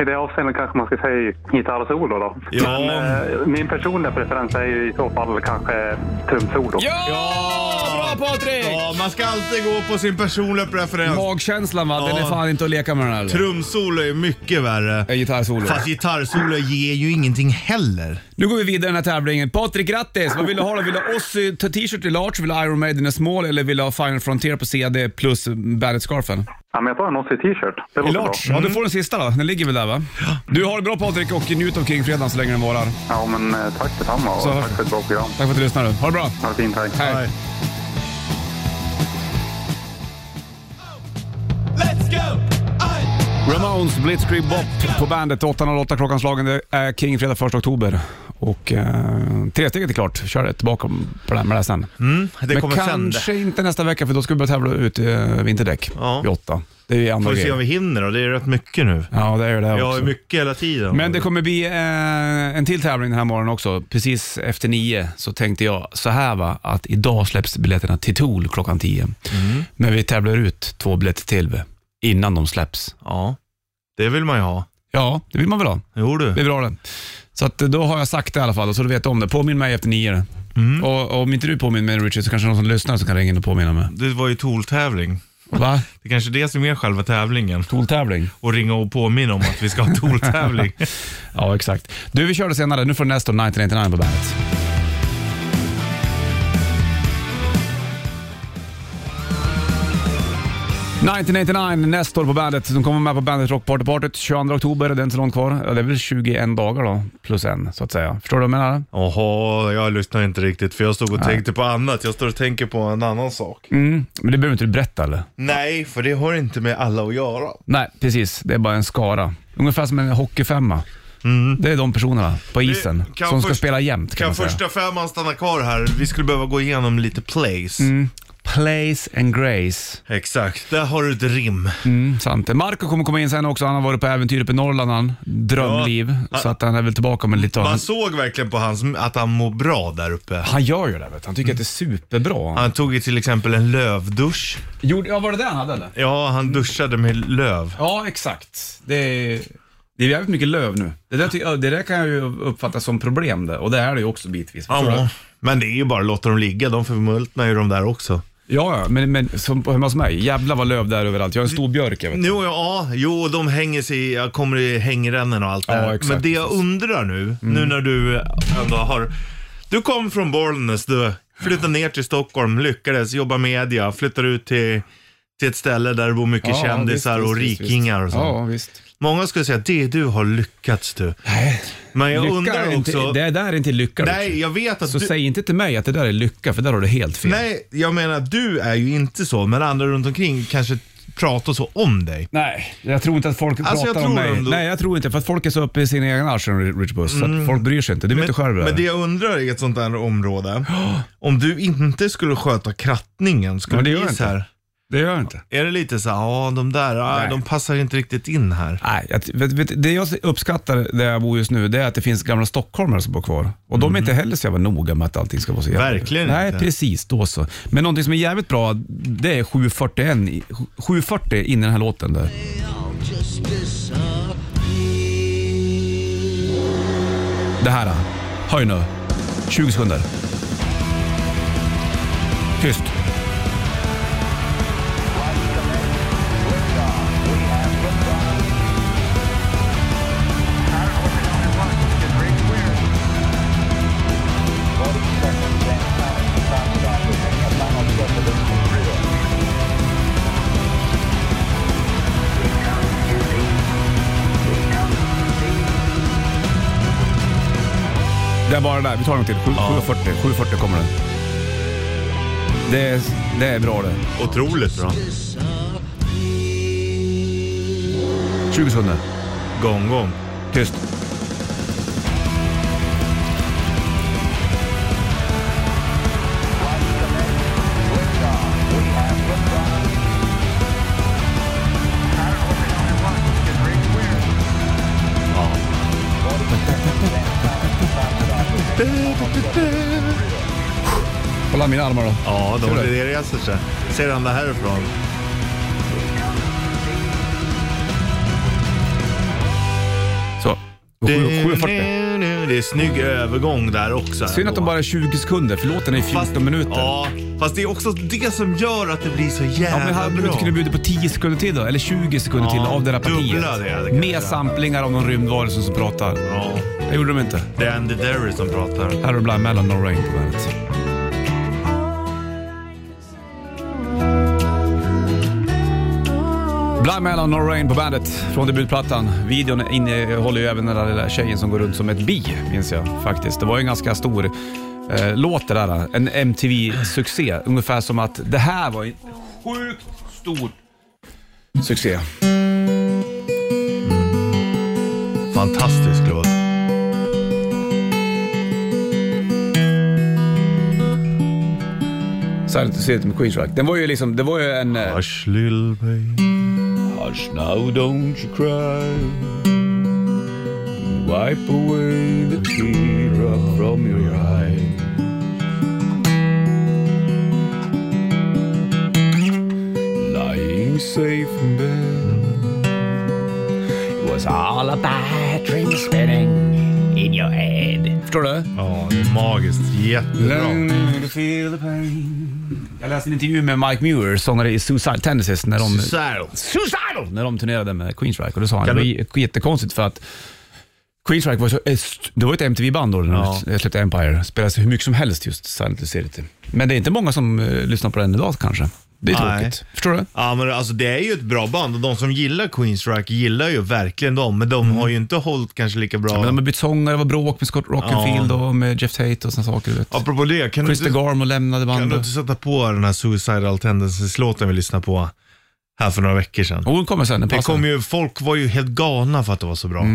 S7: i det avseendet kanske man ska säga gitarrsolo då.
S3: Ja.
S7: Men, eh, min personliga preferens är ju i så fall kanske trumsolo.
S2: Ja! Bra Patrik!
S3: Ja, man ska alltid gå på sin personliga preferens.
S2: Magkänslan va? Den
S3: Ja.
S2: är fan inte att leka med den här. eller?
S3: Trumsolo är mycket värre.
S2: Eh, Gitarrsolo.
S3: Fast gitarrsolo ger ju ingenting heller.
S2: Nu går vi vidare i den här tävlingen. Patrik, grattis! Vad vill du ha då? Vill du ha Ozzy t- t-shirt i large, vill du ha Iron Maiden i small eller vill du ha Final Frontier på CD plus Bandit-scarfen?
S7: Ja, men jag tar en Ozzy t-shirt. Det
S2: I
S7: låter bra.
S2: large. Ja, du får den sista då. Den ligger väl där va? Du har det bra Patrik och njut av Kingfredagen så länge den varar.
S7: Ja, men eh, tack detsamma och
S2: Så-
S7: tack för ett bra program.
S2: Tack för att du lyssnade. Ha det bra.
S7: Ha det fint, hej.
S2: Hej. Ramones Blitzkrieg Bop på bandet 8.08 klockan slagen. Det är Kingfredag 1 oktober. Och eh, tresteget är klart. Kör det tillbaka på det här med det här sen.
S3: Mm, Det
S2: Men
S3: kommer sen.
S2: kanske inte nästa vecka för då ska vi börja tävla ut eh, vinterdäck
S3: Ja.
S2: vid åtta. Det är ju andra
S3: Får vi se om
S2: grejer.
S3: vi hinner då. Det är rätt mycket nu.
S2: Ja, det är ju det
S3: Jag har
S2: också.
S3: ju mycket hela tiden.
S2: Men det kommer bli eh, en till tävling den här morgonen också. Precis efter nio så tänkte jag så här va, att idag släpps biljetterna till Tool klockan tio. Men vi tävlar ut två biljetter till va, innan de släpps.
S3: Ja, det vill man ju ha.
S2: Ja, det vill man väl ha.
S3: Jo du.
S2: Det är bra det. Så att, eh, då har jag sagt det i alla fall, så du vet om det. Påminn mig efter nio. Och, och om inte du påminner mig Richard så kanske någon som lyssnar som kan ringa in och påminna mig.
S3: Det var ju Tool-tävling.
S2: Va?
S3: Det är kanske är det som är själva tävlingen.
S2: Tool-tävling?
S3: Och ringa och påminna om att vi ska ha Tool-tävling.
S2: Ja, exakt. Du, vi kör det senare. Nu får du nästa 1999 på bandet. 1989, Nestor på bandet, som kommer med på bandet Rock Party Partyt 22 oktober, det är inte så långt kvar. Ja, det är väl 21 dagar då, plus en så att säga. Förstår du vad jag menar?
S3: Jaha, jag lyssnar inte riktigt för jag stod och tänkte på annat. Jag står och tänker på en annan sak.
S2: Mm. Men det behöver inte du berätta eller?
S3: Nej, för det har inte med alla att göra.
S2: Nej, precis. Det är bara en skara. Ungefär som en hockeyfemma. Det är de personerna på isen
S3: Mm. kan
S2: som ska
S3: först-
S2: spela jämt kan,
S3: Kan
S2: man säga.
S3: första femman stanna kvar här? Vi skulle behöva gå igenom lite plays.
S2: Mm. Place and Grace.
S3: Exakt, där har du ett rim.
S2: Mm, sant. Marco kommer komma in sen också. Han har varit på äventyr uppe i Norrland, han. Drömliv.
S3: Ja.
S2: Så att han är väl tillbaka med lite av...
S3: Man såg verkligen på hans att han mår bra där uppe.
S2: Han gör ju det, vet du. Han tycker att det är superbra.
S3: Han tog ju till exempel en lövdusch.
S2: Gjorde, ja, var det det han hade eller?
S3: Ja, han duschade med löv.
S2: Ja, exakt. Det är, det är jävligt mycket löv nu. Det där, ty- ja, det där kan jag ju uppfatta som problem det, och det är det ju också bitvis. Förstår du?
S3: Ja, men det är ju bara att låta dem ligga. De förmultnar ju de där också.
S2: ja, ja, men, men som, hemma hos mig, jävlar vad löv det är överallt. Jag har en stor björk jag vet.
S3: Nu, ja, jo, de hänger sig, jag kommer i hängrännen och allt det
S2: Ja,
S3: där.
S2: exakt. Mm.
S3: Men det jag undrar nu, nu när du ändå har... Du kom från Bollnäs, du flyttade ner till Stockholm, lyckades jobba media, flyttar ut till, till ett ställe där det bor mycket
S2: Ja,
S3: kändisar
S2: visst,
S3: och
S2: visst, visst,
S3: rikingar
S2: visst.
S3: och så.
S2: Ja, visst.
S3: Många skulle säga att det du har lyckats du.
S2: Nej,
S3: Men jag
S2: lycka
S3: undrar
S2: är
S3: också...
S2: inte, det där är inte lycka.
S3: nej, jag vet att
S2: Så
S3: du...
S2: säg inte till mig att det där är lycka, för där har du helt fel.
S3: Nej, jag menar du är ju inte så, men andra runt omkring kanske pratar så om dig.
S2: Nej, jag tror inte att folk
S3: Alltså, jag
S2: pratar om
S3: tror
S2: mig.
S3: ändå- Mm.
S2: Nej, jag tror inte. För att folk är så uppe i sina egna arslen, Rich Buss. Så att folk bryr sig inte. Det vet du själv.
S3: men
S2: det...
S3: det jag undrar i ett sånt här område, om du inte skulle sköta krattningen, skulle
S2: Men det
S3: det
S2: gör jag
S3: bli så här?
S2: det gör jag inte.
S3: Är det lite så här, ja de där, ah,
S2: Nej.
S3: de passar inte riktigt in här.
S2: Nej, jag, vet, vet, det jag uppskattar där jag bor just nu, det är att det finns gamla stockholmare som bor kvar. Och de är inte heller så jävla noga med att allting ska vara så jävla...
S3: Mhm. Verkligen
S2: Nej,
S3: inte.
S2: precis. Då så. Men någonting som är jävligt bra, det är 7.41 i- 7.40 in i den här låten. Där. Det här. Höj nu. 20 sekunder. Tyst. Det är bara det där. Vi tar en till. Sju- 7.40. 7.40 kommer den. Det är, det är bra det.
S3: Otroligt bra.
S2: 20 sekunder.
S3: Gång, gång.
S2: Tyst. Kolla mina armar då.
S3: Ja, de
S2: Ser du?
S3: det reser sig. Ser han det härifrån?
S2: Så.
S3: Det,
S2: 7.40.
S3: det är snygg övergång där också.
S2: Synd att de bara är 20 sekunder, för låten är i 14 minuter.
S3: Ja, fast det är också det som gör att det blir så
S2: Ja, men
S3: jävla
S2: hade du
S3: bra.
S2: inte kunnat bjuda på 10 sekunder till då? Eller 20 sekunder
S3: Ja,
S2: till av det där partiet?
S3: dubbla det, det kanske.
S2: Med samplingar av någon rymdvarelse som pratar.
S3: Ja,
S2: Det gjorde de inte.
S3: det är Andy Derry som pratar.
S2: Här har du Blind Melon, No Rain på bandet. Blind Melon, No Rain på bandet från debutplattan. Videon innehåller ju även den där lilla tjejen som går runt som ett bi, minns jag faktiskt. Det var ju en ganska stor eh, låt det där. En MTV-succé. Ungefär som att det här var en sjukt stor succé.
S3: Fantastisk låt.
S2: Så här ser det ut med Queens Rock. Den var ju liksom, det var ju en... eh,
S3: Hush little baby.
S2: Hush now, don't you cry. Wipe away the teardrop from your eye. Lying safe in bed. It was all about dream spinning in your head. Förstår du?
S3: Ja, det är magiskt. Jättebra.
S2: Jag läste en intervju med Mike Muir, sångare i Suicide Tendencies, när de
S3: Suicidal.
S2: Suicidal! När de turnerade med Queensryche och då sa han, det
S3: Kan
S2: var
S3: du-
S2: j- jättekonstigt för att Queensryche var så, est- det var ett MTV-band då när
S3: Ja.
S2: de släppte Empire. Spelades hur mycket som helst just Silent Lucidity. Men det är inte många som eh, lyssnar på den idag kanske. Det är
S3: Nej.
S2: tråkigt. Förstår du?
S3: Ja, men alltså det är ju ett bra band och de som gillar Queensryche gillar ju verkligen dem, men de har ju inte hållit kanske lika bra.
S2: Men de har bytt sångare, det var bråk med Scott Rockenfield och med Jeff Tate och såna saker. Du vet.
S3: Apropå det, kan du,
S2: Chris
S3: inte,
S2: DeGarmo lämnade
S3: kan du
S2: bandet.
S3: inte sätta på den här Suicidal Tendencies-låten vi lyssnade på här för några veckor sedan?
S2: Jo, den kommer sen. Den
S3: Det
S2: passar. Mm.
S3: kom ju, folk var ju helt galna för att det var så bra.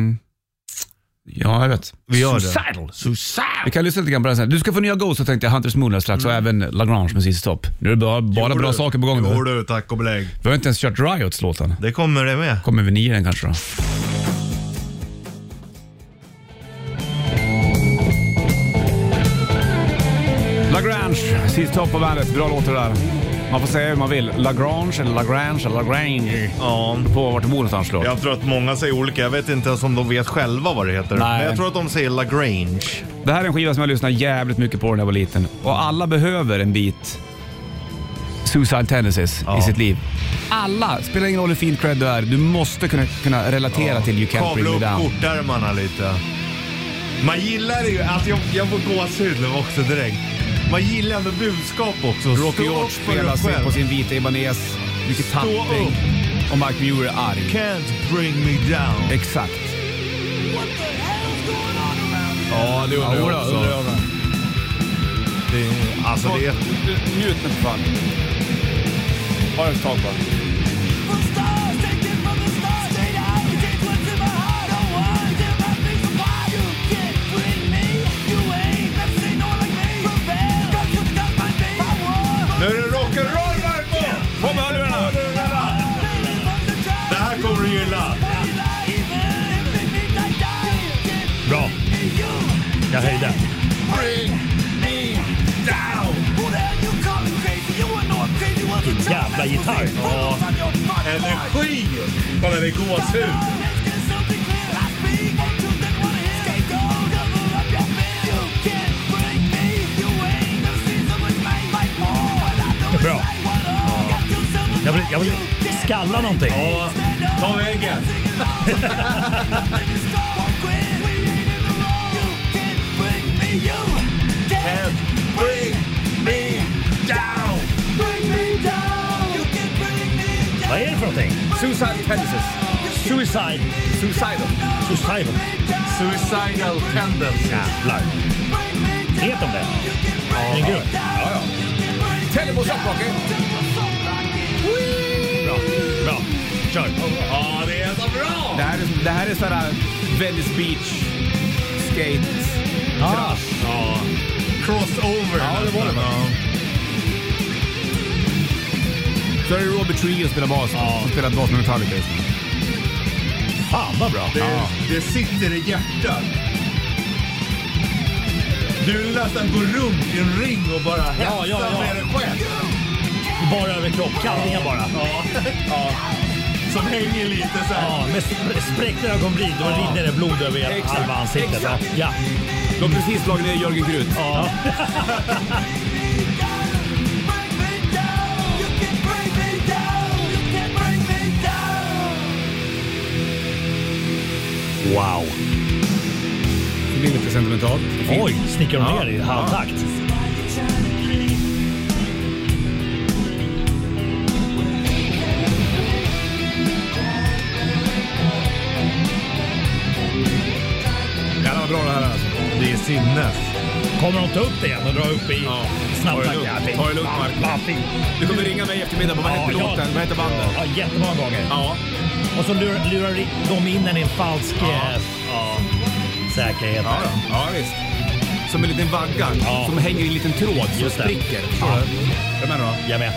S2: Ja, jag vet.
S3: Vi gör
S2: Suicidal.
S3: det. Suicidal!
S2: Vi kan lyssna lite grann på den sen. Du ska få nya Ghost, så tänkte jag. Hunters Moonlight strax och även Lagrange med sin stopp. Nu är det bara, bara bra saker på gång.
S3: Mm. Jo
S2: nu.
S3: du, tack och belägg.
S2: Vi har inte ens kört Riots låten.
S3: Det kommer det med.
S2: Kommer vi nio den kanske då? Lagrange, sist topp på bandet. Bra låt det där. Man får säga hur man vill. Lagrange eller Lagrange eller Lagrange.
S3: Ja.
S2: På vart du bor någonstans då.
S3: Jag tror att många säger olika. Jag vet inte ens om de vet själva vad det heter.
S2: Nej.
S3: Men jag tror att de säger Lagrange.
S2: Det här är en skiva som jag lyssnade jävligt mycket på när jag var liten. Och alla behöver en bit Suicide Tendencies
S3: Ja.
S2: i sitt liv. Alla, spelar ingen roll hur fin cred du är, du måste kunna, kunna relatera till You Can't
S3: Kavla
S2: Bring Me
S3: upp
S2: Down.
S3: kortärmarna lite. Man gillar det ju, alltså jag, jag får gåshud nu också direkt. Man gillar ändå budskap också.
S2: Rocky
S3: Stå
S2: George
S3: upp för dig
S2: spelar sig
S3: själv.
S2: på sin vita Ibanez, mycket
S3: Stå
S2: tappning. Och Mike Muir är arg.
S3: Can't bring me down.
S2: Exakt.
S3: Ja, det undrar jag
S2: Jodå,
S3: också.
S2: undrar jag med.
S3: Det är- Alltså det är...
S2: Njut nu för fan. Har jag ett tag bara.
S3: Nu är det rock'n'roll Marco!
S2: På med hörlurarna!
S3: Det här kommer du gilla. Bra. Jag höjde.
S8: Jävla gitarr!
S3: Ja.
S8: Energi!
S3: Energi! Kolla det är gåshud.
S8: Bra. Jag vill, jag vill skalla någonting.
S3: Ja, ta väggen. Can't bring me down.
S8: Vad är det för någonting?
S2: Suicide Tendencies.
S8: Suicide.
S2: Suicidal.
S8: Suicidal.
S3: Suicidal tendency.
S8: Jävlar. Heter de det? Ja. En grupp? Ja, ja.
S2: Tendencies Rocky.
S8: Bra.
S3: Bra. Kör. Ja, det är så bra!
S2: Det här är, det här är sådär Venice Beach, skate, ah.
S3: Ja. Crossover.
S2: Ja, det var det. Så är det Robert Trujillo som spelar bas, som spelar bas med Metallica just nu.
S8: Fan vad bra.
S3: Det, det sitter i hjärtat. Du vill nästan gå runt i en ring och bara hetsa
S8: ja, ja.
S3: med dig själv.
S8: Bara överkropp, kallingar bara.
S3: Ja. ja. Som hänger lite så här.
S8: Ja, med sp- spräckta ögonbryn. Då rinner det blod över
S2: Exakt,
S8: halva ansiktet.
S2: exakt.
S8: Ja.
S2: De har precis slagit ner Jörgen Krut.
S8: ja. Wow.
S2: Det blir lite sentimentalt.
S8: Oj, snickar de ner i halvtakt?
S2: Jävlar vad bra det här är alltså.
S3: Det är sinnes.
S8: Kommer de ta upp det igen och dra upp i
S2: Ja.
S8: snabbtakt?
S2: Ta det lugnt.
S8: Ja, fint.
S2: Ta det lugnt, Mark.
S8: Ja, fint.
S2: Du kommer ringa mig i eftermiddag. Vad hette
S8: Ja,
S2: låten?
S8: ja.
S2: Vad hette bandet?
S8: Ja, jättemånga gånger.
S2: Ja.
S8: Och så lurar, lurar de in den i en falsk ja. Ja, säkerhet.
S2: Ja, ja. ja visst. Som en liten vagga
S8: Ja.
S2: som hänger i en liten tråd som
S8: Just det.
S2: spricker.
S8: Ja.
S2: Jag menar då?
S8: Jag med.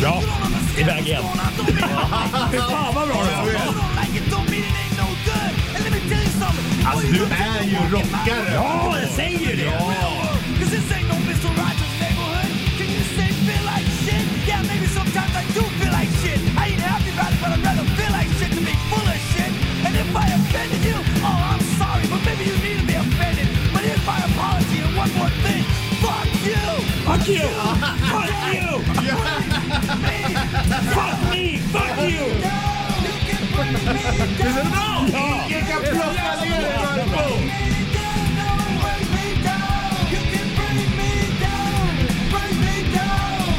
S8: Bra. Iväg igen. Fy fan vad bra det var.
S3: Alltså du är ju rockare.
S8: Ja, jag säger ju det. oh, Fuck you! Fuck you! Fuck me! Fuck you!
S3: Visst är det bra?
S8: Ja.
S3: Jag kan plocka ner dig Marco.
S5: You can bring me down, bring me down.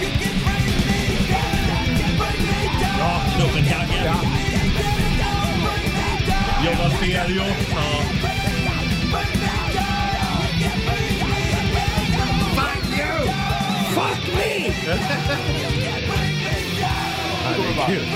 S3: är ju också... Fuck you! Fuck me! Herregud.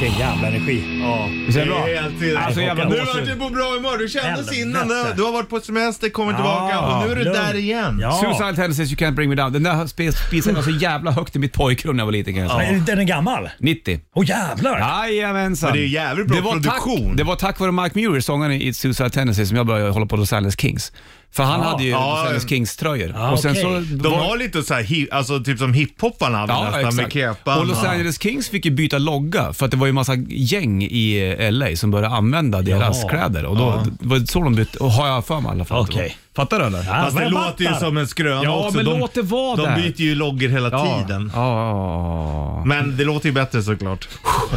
S5: Vilken jävla energi.
S3: Ja,
S2: Visst är det bra?
S3: helt i-
S2: Alltså, jävla
S3: nu
S2: gåshud.
S3: är du på bra humör. Du kändes
S5: Helvete.
S3: innan. Du, du har varit på semester, kommit tillbaka och nu är du
S5: Ah, lugn.
S3: där igen.
S5: Ja.
S2: Suicidal Tendencies, You Can't Bring Me Down. Den där spe- spisen var så jävla högt i mitt pojkrum när jag var liten kan jag säga.
S5: Men Den är gammal?
S2: 90.
S5: Åh jävlar!
S2: Jajamensan.
S3: Men det är jävligt bra
S2: det var
S3: produktion.
S2: Tack, det var tack vare Mike Muir, sångaren i Suicide Tendencies, som jag började hålla på Los Angeles Kings. För han hade ju
S3: ja,
S2: Los Angeles Kings-tröjor.
S5: Ja,
S2: och sen
S5: okej.
S2: så
S3: De
S2: var-
S3: har lite så här, hi- alltså typ som hiphopparna hade
S2: Ja,
S3: nästan med
S2: exakt.
S3: kepan.
S2: Och Los Angeles Kings fick ju byta logga för att det var ju massa gäng i eh, LA som började använda deras
S5: Jaha.
S2: kläder. Och då det var det så de bytte, och har jag för mig i alla fall. att det var.
S5: Okej.
S2: Fattar du eller?
S5: Ja,
S3: Fast det
S5: vad jag
S3: låter ju
S5: fattar.
S3: som en skröna
S2: Ja,
S3: också.
S2: men
S3: de,
S2: låt det vara
S3: De
S2: där.
S3: byter ju loggor hela
S2: Ja.
S3: tiden.
S2: Ja.
S3: Men det låter ju bättre såklart.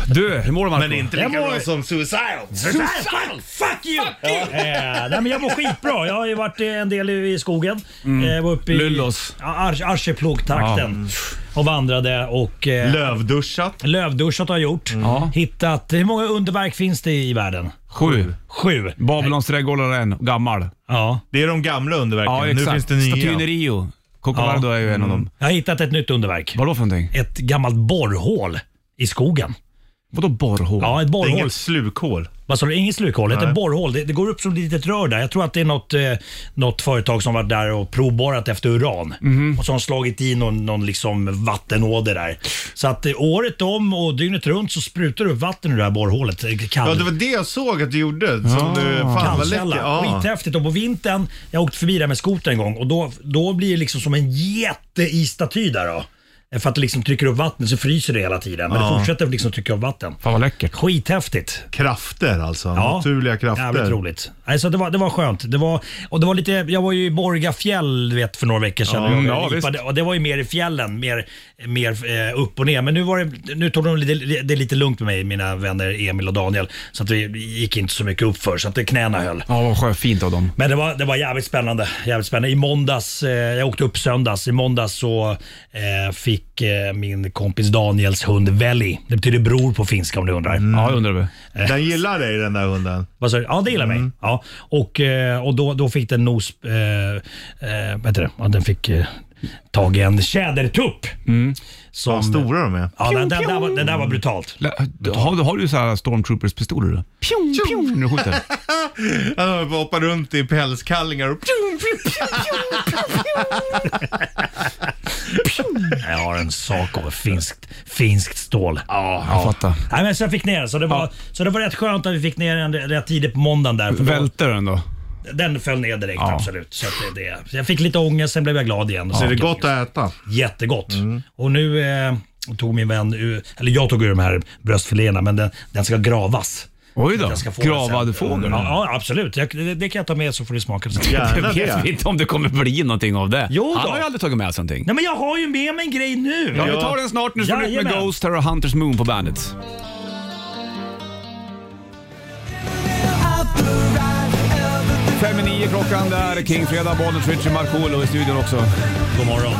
S2: Du, hur mår du Marco?
S3: Men inte
S5: Jag
S3: lika
S5: mår-
S3: bra som Suicidal.
S5: Fuck you! Eh, nej, men jag mår skitbra. Jag har ju varit eh, en del i i skogen.
S3: Mm.
S5: Eh, var uppe i
S2: Lullos.
S5: Ja, Ar- Arjeplog-trakten. Och vandrade och... Eh,
S3: Lövduschat.
S5: Lövduschat har jag gjort.
S3: Mm.
S2: Ja.
S5: Hittat... Hur många underverk finns det i världen?
S2: Sju.
S5: Sju.
S2: Babylons trädgård är en, gammal.
S5: Ja.
S3: Det är de gamla underverken.
S2: Ja,
S3: nu finns
S2: exakt.
S3: det nya.
S2: Statyn i Rio. Corcovado är ju en av dem.
S5: Jag har hittat ett nytt underverk.
S2: Vadå för någonting?
S5: Ett gammalt borrhål i skogen.
S2: Vadå borrhål?
S5: Ja, ett
S3: Det är
S5: borrhål.
S3: inget slukhål.
S5: Vad sa du? Inget slukhål, ett
S3: Nej.
S5: borrhål. Det, det går upp som ett litet rör där. Jag tror att det är något, eh, något företag som varit där och provborrat efter uran.
S3: Mhm.
S5: Och som har slagit i någon, någon liksom vattenåder där. Så att eh, året om och dygnet runt så sprutar det upp vatten ur det här borrhålet. Eh, Kall,
S3: Ja, det var det jag såg att du gjorde. Som du, fan vad läckert.
S5: Kallkälla.
S3: Ja.
S5: Skithäftigt. Och på vintern, jag åkte förbi där med skoter en gång och då, då blir det liksom som en jätteisstaty där då. Eh, För att det liksom trycker upp vattnet så fryser det hela tiden. Men det fortsätter liksom trycka upp vatten.
S2: Fan vad läckert.
S5: Skithäftigt.
S3: Krafter alltså.
S5: Ja.
S3: Naturliga krafter.
S5: Jävligt roligt. Alltså, det, var, det var skönt. Det var, och det var lite, jag var ju i Borgafjäll du vet, för några veckor sedan.
S2: Ja,
S5: Jag
S2: ja,
S5: var
S2: visst.
S5: lipade, och det var ju mer i fjällen, mer, mer eh, upp och ner. Men nu, var det, nu tog de lite, det är lite lugnt med mig, mina vänner Emil och Daniel. Så att vi gick inte så mycket upp för så att det knäna höll.
S2: Ja, vad skönt. Fint av dem.
S5: Men det var, det var jävligt spännande. Jävligt spännande. I måndags, eh, jag åkte upp söndags, i måndags så eh, fick eh, min kompis Daniels hund Velli, det betyder bror på finska om du undrar.
S2: Ja, jag undrar du.
S3: Den gillar dig den där hunden.
S5: Vad sa du? Ja, det gillar
S3: Mm.
S5: mig. Ja. Och, eh, och då, då fick den nos... Eh, eh, vad heter det? Ja, den fick eh, tag i en tjädertupp. Som,
S3: Vad Mm. stora de är.
S5: Ja, den, den, där var, den där var brutalt.
S2: Har, har du så här stormtroopers-pistoler du? Pjong, pjong. Nu skjuter.
S3: Han hoppar runt i pälskallingar och
S5: Jag har en sak av finskt, finskt stål. Ja,
S2: jag fattar.
S5: Nej, men så jag fick ner den. Så det, var, så det var rätt skönt att vi fick ner den rätt tidigt på måndagen. Där, för då,
S2: Välter den då?
S5: den föll ner direkt,
S2: Ja.
S5: absolut. Så, att det, det, så jag fick lite ångest, sen blev jag glad igen. Så
S3: Är det gott att äta?
S5: Jättegott. Och nu eh, tog min vän, ur- eller jag tog ur de här bröstfiléerna, men den, den ska gravas.
S2: Oj då.
S5: Den ska få
S2: Gravad
S5: den sen.
S2: fågel.
S5: Ja, ja absolut. Jag, det, det kan jag ta med så får du smaka sen.
S3: Gärna
S2: Det vet vi
S3: det.
S2: inte om det kommer bli någonting av det.
S5: Jo då.
S2: Han har ju aldrig tagit med sig någonting.
S5: Nej men jag har ju med mig en grej nu.
S2: Ja, vi tar den snart. Nu får du ut med
S5: Jajamän.
S2: Ghost, här och Hunters Moon på bandet. Fem i nio klockan där, King Fredag, Bollnäs, Richie Markoolio i studion också.
S5: God morgon.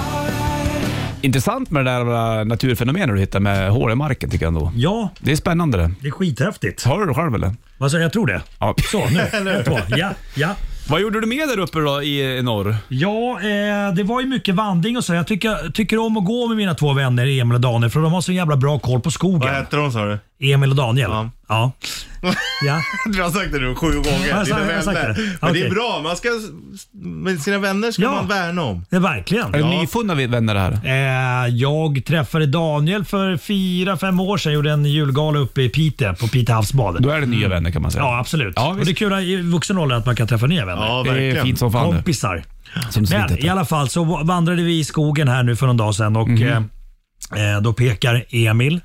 S2: Intressant med det där eh, naturfenomenet du hittar med hår i marken tycker jag ändå.
S5: Ja,
S2: Det är spännande det.
S5: det är skithäftigt.
S2: Hör du det själv eller?
S5: Alltså, jag tror det.
S2: Ja.
S5: Så, nu. Ett, två. Ja, ja.
S2: Vad gjorde du med där uppe då i i norr?
S5: Ja, eh, det var ju mycket vandring och så. Jag tycker, tycker om att gå med mina två vänner Emil och Daniel för de har så jävla bra koll på
S3: Vad
S5: skogen.
S3: hette de sa du?
S5: Emil och Daniel.
S3: Ja.
S5: Ja. ja.
S3: Du har sagt det nu sju gånger.
S5: Jag har
S3: dina
S5: sagt- jag har sagt
S3: vänner.
S5: det.
S3: Men det
S5: Okej.
S3: är bra. Man ska, med sina vänner ska
S5: Ja.
S3: man värna om.
S5: Det är verkligen.
S2: Är det nyfunna vi- vänner det här?
S5: Eh, jag träffade Daniel för fyra, fem år sedan. gjorde en julgala uppe i Piteå på Piteå havsbad.
S2: Då är det nya vänner kan man säga.
S5: Ja, absolut.
S2: Ja,
S5: och
S2: visst.
S5: det är kul att i vuxen ålder att man kan träffa nya vänner.
S3: Ja,
S2: det är
S3: verkligen.
S2: fint som fan nu.
S5: Kompisar.
S2: Som det så fint
S5: Men
S2: heter.
S5: i alla fall så vandrade vi i skogen här nu för någon dag sedan och
S2: Mhm.
S5: eh, eh, då pekar Emil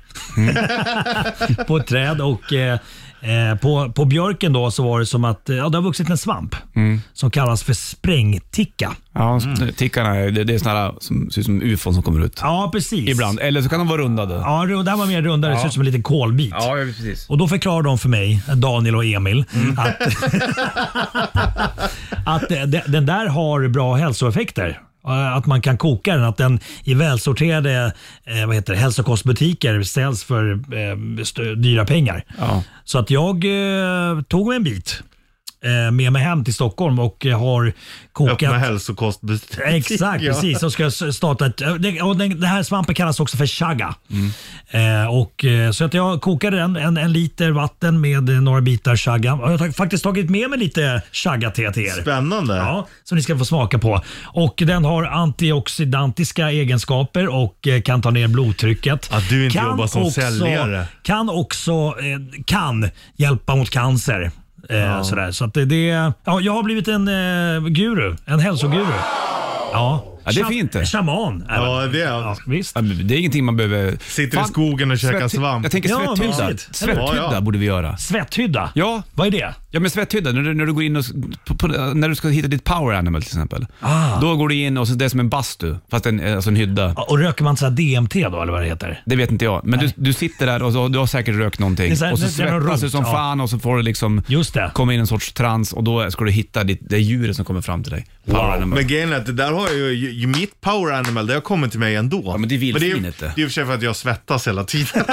S5: på ett träd och eh, eh, på, på björken då så var det som att eh, ja, det har vuxit en svamp
S2: Mm.
S5: som kallas för sprängticka.
S2: Ja, tickarna, är- det, det är såna här som ser ut som ufon som kommer ut.
S5: Ja, precis.
S2: Ibland. Eller så kan de vara rundade.
S5: Ja, ru- det här var mer rundare. Det ser ut som en liten kolbit.
S2: precis.
S5: Och då förklarar de för mig, Daniel och Emil, att, att de- de- den där har bra hälsoeffekter. eh, att man kan koka den. Att den i välsorterade eh, vad heter det, hälsokostbutiker säljs för eh, stö- dyra pengar.
S2: Ja.
S5: Så att jag eh, tog mig en bit eh, med mig hem till Stockholm och eh, har
S8: Öppna
S5: kokat
S8: hälsokostbutik.
S5: Exakt,
S8: Ja.
S5: precis. Så ska jag starta ett, eh, det- och den, den här svampen kallas också för chaga.
S8: Mm.
S5: Eh, och, eh, så att jag kokade den, en, en liter vatten med eh, några bitar chaga. Och jag har ta- faktiskt tagit med mig lite chaga-te till er.
S8: Spännande.
S5: Ja, som ni ska få smaka på. Och Den har antioxidantiska egenskaper och eh, kan ta ner blodtrycket.
S8: Att du inte jobbar som säljare.
S5: Kan också eh, kan hjälpa mot cancer. Eh, sådär. Så att det, det, ja, jag har blivit en eh, guru, en hälsoguru. Ja.
S2: Ja, det är
S5: Sha-
S2: fint det.
S5: Shaman. är
S8: Ja,
S5: man.
S8: det är-
S5: ja, visst.
S2: Ja, men Det är ingenting man behöver...
S8: Sitter i skogen och käkar svamp.
S2: Jag tänker
S5: Ja,
S2: svetthydda.
S5: mysigt.
S2: Svetthydda
S8: Ja, ja.
S2: borde vi göra.
S5: Svetthydda.
S2: Ja,
S5: Vad är det?
S2: ja men svetthydda. När du, när du går in och... s- På, på, när du ska hitta ditt power animal till exempel.
S5: Ah.
S2: Då går du in och så det är som en bastu, fast en, alltså en hydda.
S5: Ja, Och röker man så här DMT då, eller vad det heter?
S2: Det vet inte jag, men du, du sitter där och så, du har säkert rökt
S5: Det
S2: någonting
S5: är så här-
S2: och så
S5: det är någon
S2: svettas du
S5: rot,
S2: som
S5: ja.
S2: fan och så får du liksom
S5: Just det.
S2: komma in i en sorts trans och då ska du hitta ditt, det djuret som kommer fram till dig. Power animal.
S8: Men grejen är att det där har jag ju, ju, mitt power animal, det har kommit till mig ändå.
S2: men det är vildsvinet,
S8: ju-
S2: det.
S8: det. är i och för sig för att jag svettas hela tiden.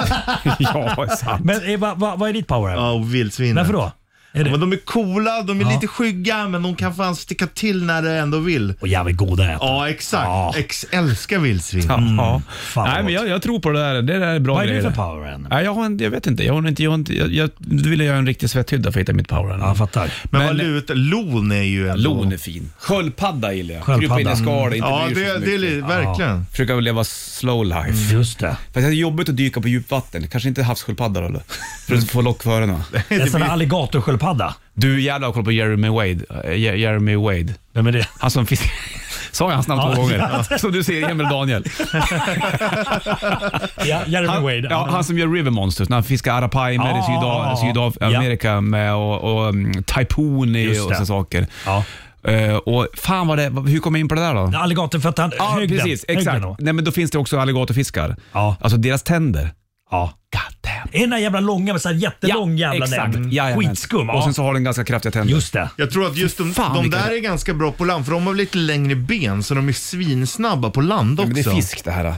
S2: ja, sant.
S5: Men eh, vad vad- vad är ditt power?
S8: ja, och vildsvinet.
S5: Varför då? Är det...
S8: Men de är coola, de är
S5: Ja.
S8: lite skygga, men de kan fan sticka till när de ändå vill.
S5: Och jävligt goda att äta.
S8: Ja, exakt.
S5: Ja.
S8: Ex älskar vildsvin.
S2: ja.
S5: Mm. fan vad
S2: Nej, men
S5: gott.
S2: jag, jag tror på det där. Det där är bra
S5: Vad är
S2: grejer.
S5: du för power animal?
S2: Nej, jag, har en, jag vet inte. Jag, har inte, jag, har inte, jag, jag nu vill jag göra en riktig svetthydda för att hitta mitt power
S5: Ja, jag
S2: animal.
S5: fattar.
S8: Men,
S2: Men-
S8: valut, lon är ju ändå...
S2: Lon är fin. Sköldpadda gillar jag.
S5: Sköldpadda.
S2: Krypa in i skalet, inte
S8: Ja,
S2: bryr sig
S8: det,
S2: så
S8: det är
S2: mycket.
S8: li- verkligen.
S2: Försöka leva slow life.
S5: Just det.
S2: Fast det är jobbigt att dyka på djupt Kanske inte havssköldpadda då, eller? För att få lock för öronen.
S5: Det är en sån här alligatorsköldpadda.
S2: Du jävlar har koll på Jeremy Wade. Eh, Je- Jeremy Wade.
S5: Vem är det?
S2: Han som fisk... Sa jag hans namn
S5: Ja,
S2: två
S5: ja.
S2: gånger? Som du ser, Emil och Daniel.
S5: Ja, Jeremy
S2: Han,
S5: Wade.
S2: ja, han som gör River Monsters när han fiskar arapai med i
S5: Ah,
S2: Syda, Sydamerika med och, och um, Taipuni
S5: Just
S2: och
S5: det.
S2: sådana saker.
S5: Ja.
S2: Eh, och fan vad det... Hur kom jag in på det där då?
S5: Alligator för att han...
S2: Ja,
S5: högden.
S2: precis.
S5: Högden
S2: Exakt.
S5: då.
S2: Nej, men då finns det också alligatorfiskar.
S5: Ja.
S2: Alltså deras tänder.
S5: Ja.
S2: God damn.
S5: Är den där jävla långa med så här jättelång jävla
S2: exakt.
S5: näbb?
S2: Jajamän.
S5: Skitskum.
S2: Och
S5: Ja.
S2: sen så har den ganska kraftiga tänder.
S5: Just det.
S8: Jag tror att just de,
S2: Fan,
S8: de
S2: vilka-
S8: där är ganska bra på land, för de har lite längre ben, så de är svinsnabba på land också.
S2: Men det är fisk det här.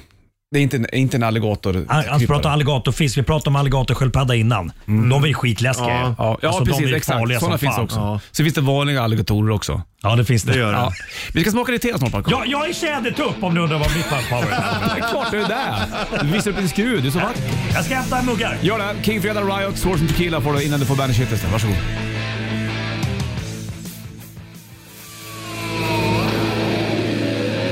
S2: Det är inte en, inte en alligator.
S5: Han, han alltså, pratar alligatorfisk. Vi pratade om alligatorsköldpadda innan. De var ju skitläskiga.
S8: Ja.
S2: Mm. Ja, ja
S5: Alltså, de
S2: precis.
S5: är
S2: Exakt.
S5: farliga som
S2: Sådana finns
S5: fan.
S2: också. Så finns det vanliga alligatorer också.
S5: Ja, det finns det.
S8: Det gör det.
S2: Ja. Vi ska smaka lite te snart Marko.
S5: Ja, jag är tjädertupp om du undrar vad mitt power är.
S2: det är klart du är där. Du visar upp din skrud. Du är så vacker.
S5: Jag ska hämta muggar.
S2: Gör det. King Fredag Riot, Swords and Tequila får du innan du får Bandage Hit istället. Varsågod.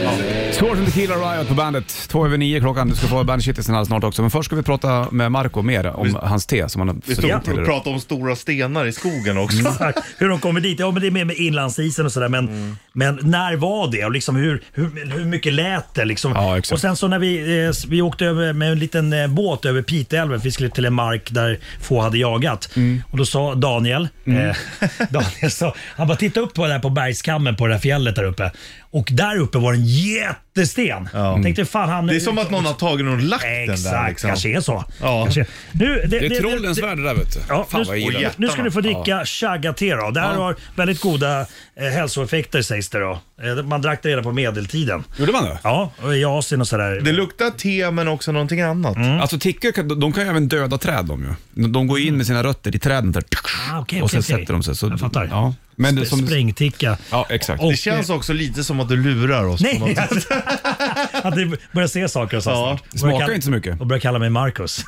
S2: Ja. Swords and Tequila Riot på bandet. Två över nio klockan. Du ska få Bandage Hit istället snart också. Men först ska vi prata med Marco mer om hans te som han har
S8: Vi
S2: suttit
S8: stod
S2: till
S8: och
S2: idag.
S8: pratade om stora stenar i skogen också.
S5: Mm. Hur de kommer dit? Ja, men det är mer med inlandsisen och sådär. Men,
S8: Mm.
S5: men när var det? Och liksom hur, hur, hur mycket lät det? Liksom.
S2: Ja, exakt.
S5: och sen så när vi, eh, s- vi åkte över med en liten eh, båt över Piteälven. Vi skulle till en mark där få hade jagat.
S8: Mm.
S5: Och då sa Daniel, eh, Daniel sa, han bara titta upp på det här på bergskammen på det här fjället där uppe. Och där uppe var det en jättesten. Tänkte, fan, han, liksom
S8: Det är som att någon har tagit någon och lagt den där.
S5: Exakt,
S8: Liksom.
S5: kanske är så.
S8: Ja.
S5: Kanske. Nu, det,
S2: Det
S5: det-
S2: är trollens värld det där vet du.
S5: Ja,
S2: Fan vad jag
S5: nu,
S8: Oh,
S2: gillar det.
S5: nu ska du få dricka chaga-te då. Det här
S2: Ja.
S5: har väldigt goda eh, hälsoeffekter sägs det då. Eh, man drack det redan på medeltiden.
S2: Gjorde man det?
S5: Ja, och i Asien och sådär.
S8: Det luktar te men också någonting annat.
S2: Alltså tickor, kan- de de kan ju även döda träd de ju. De går in med sina rötter i träden där,
S5: Ah, okej,
S2: och sen
S5: okej, okej.
S2: sätter de sig. Så,
S5: Jag fattar. Oh
S2: Ja. Men det,
S5: Sp-
S2: som,
S5: Sprängticka.
S2: ja, exakt.
S5: Och-
S8: Det känns också lite som att du lurar oss. på
S5: Nej!
S8: något sätt.
S5: Att, att du börjar se saker och så
S8: Ja,
S5: snart.
S2: det smakar
S5: Börjar kalla-
S2: inte så mycket.
S5: Och börjar kalla mig Marcus.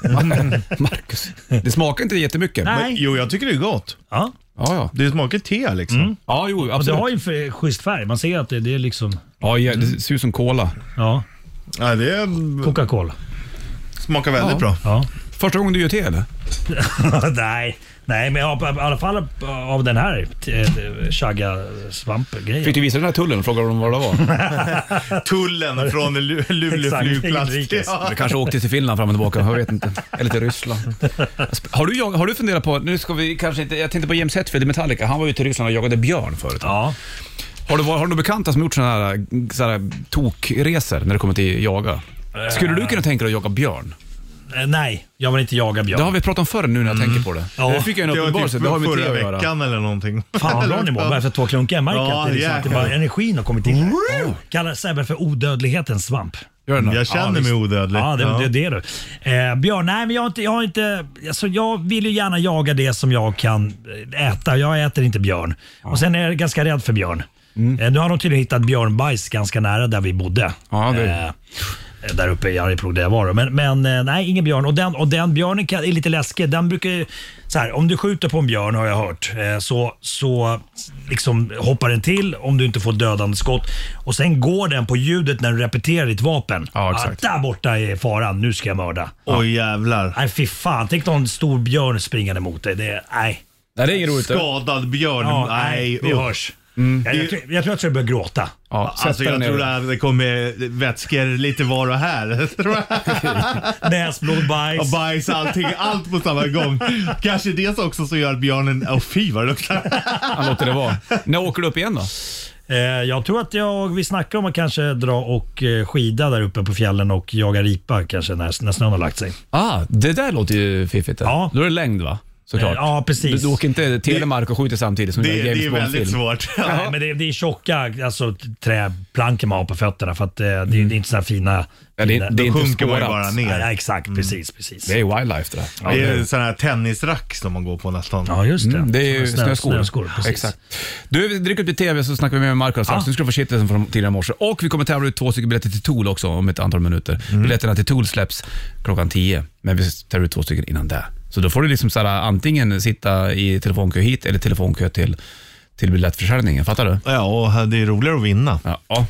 S2: Marcus. Det smakar inte jättemycket.
S5: Nej.
S2: Men,
S8: Men, jo, jag tycker det är gott.
S5: ja,
S2: ja, ja.
S8: Det smakar te liksom.
S2: ja, jo,
S5: och det
S2: absolut.
S5: har ju en f- schysst färg. Man ser att det, det är liksom,
S2: Ja, ja, det ser ut som cola.
S5: ja,
S8: Ja, det är-
S5: Coca-Cola.
S8: smakar väldigt bra.
S5: Ja.
S2: Första gången du gör te eller?
S5: Nej. Nej, men jag, i alla fall av den här eh, chaga-svamp-grejen.
S2: Fick du visa den här tullen och fråga dem vad det var?
S8: Tullen från Lu- Luleå
S5: Exakt,
S8: flygplats.
S5: inrikes.
S8: Ja.
S2: Du kanske åkte till Finland fram och tillbaka, jag vet inte. Eller till Ryssland. Har du, jag- har du funderat på, nu ska vi kanske inte, jag tänkte på James Hetfield i Metallica, han var ju till Ryssland och jagade björn förut.
S5: Ja.
S2: Har du, har du några bekanta som gjort sådana här, såna här tokresor när det kommer till jaga? Skulle du kunna tänka dig att jaga björn?
S5: Eh, nej, jag vill inte jaga björn.
S2: Det har vi pratat om förr nu när jag tänker på det.
S5: Ja.
S2: Mm. Det fick jag en
S3: Det var
S2: uppenbarelse.
S3: typ
S2: Det har med
S3: förra
S2: te att göra.
S3: veckan eller någonting.
S5: Fan vad bra ni mår. Bara för två klunkar. Jag märker
S3: Ja,
S5: att, det är liksom, att det bara,
S3: jäklar.
S5: energin har kommit in. här. Kallar Sebbe för odödlighetens svamp.
S2: Gör den här.
S3: Jag känner
S2: Ja,
S3: mig
S2: visst.
S3: odödlig.
S5: Ja, det, det, det är du. Eh, Björn, nej men jag har inte... Jag, har inte alltså, jag vill ju gärna jaga det som jag kan eh, äta. Jag äter inte björn. Och sen är jag ganska rädd för björn.
S2: Mm.
S5: Eh, nu har de tydligen hittat björnbajs ganska nära där vi bodde.
S2: Ja, det-
S5: Eh, där uppe i Arjeplog där jag var. då. Men, men eh, nej, ingen björn. Och den, och den björnen kan, är lite läskig. Den brukar ju, så här, om du skjuter på en björn har jag hört, eh, så, så liksom hoppar den till om du inte får dödande skott. Och sen går den på ljudet när du repeterar ditt vapen.
S2: Ja, exakt.
S5: Ah, där borta är faran, nu ska jag mörda.
S3: Oj
S2: Äh,
S3: jävlar.
S5: Nej fy fan, tänk någon stor björn springande mot dig. Det, är- nej.
S2: Nej, det är inget roligt.
S3: Skadad björn.
S5: Ja,
S3: nej,
S5: det
S3: usch.
S5: hörs.
S2: Mm.
S5: Jag, jag, tror- jag tror att jag börjar gråta.
S2: Ja, sätt
S3: Alltså
S2: dig
S3: jag
S2: ner.
S3: tror att det kommer vätskor lite var och här.
S5: Näsblod, bajs.
S3: Och bajs, allting, allt på samma gång. Kanske det också som gör att björnen, åh fy vad det luktar.
S2: Han låter det vara. När åker du upp igen då?
S5: Eh, jag tror att jag, vi snackar om att kanske dra och eh, skida där uppe på fjällen och jaga ripa kanske när, när snön har lagt sig.
S2: Ah, det där låter ju fiffigt.
S5: Ja.
S2: Då är det längd va? Såklart.
S5: Eh, ja, precis.
S2: Du, du åker inte Telemark och skjuter samtidigt som du
S3: Det,
S2: gör
S3: det
S2: James
S3: är väldigt
S2: Bond-film.
S3: svårt.
S5: Nej, men det, det är tjocka alltså, träplankor man har på fötterna för att eh, det, är- det är inte så här fina...
S2: Mm. Ja, det, är- det är inte
S3: sjunker man ju bara
S2: spårat.
S3: ner.
S5: Nej, exakt, precis, precis.
S2: Det är wildlife det där.
S3: Det är sån här tennisrack som man går på nästan.
S5: Ja, just det.
S2: Mm, det är ju
S5: Snö-
S2: snöskor.
S5: snöskor precis.
S2: Exakt. Du, vi dricker upp lite TV så snackar vi med Marcus strax.
S5: Ja.
S2: Nu ska du få shitlisten från tidigare morse. Och vi kommer tävla ut två stycken biljetter till Tool också om ett antal minuter.
S3: Mm.
S2: Biljetterna till Tool släpps klockan 10, men vi tävlar ut två stycken innan det. Så då får du liksom så här, antingen sitta i telefonkö hit eller telefonkö till, till biljettförsäljningen. Fattar du?
S3: Ja, och det är roligare att vinna.
S2: Ja. ja.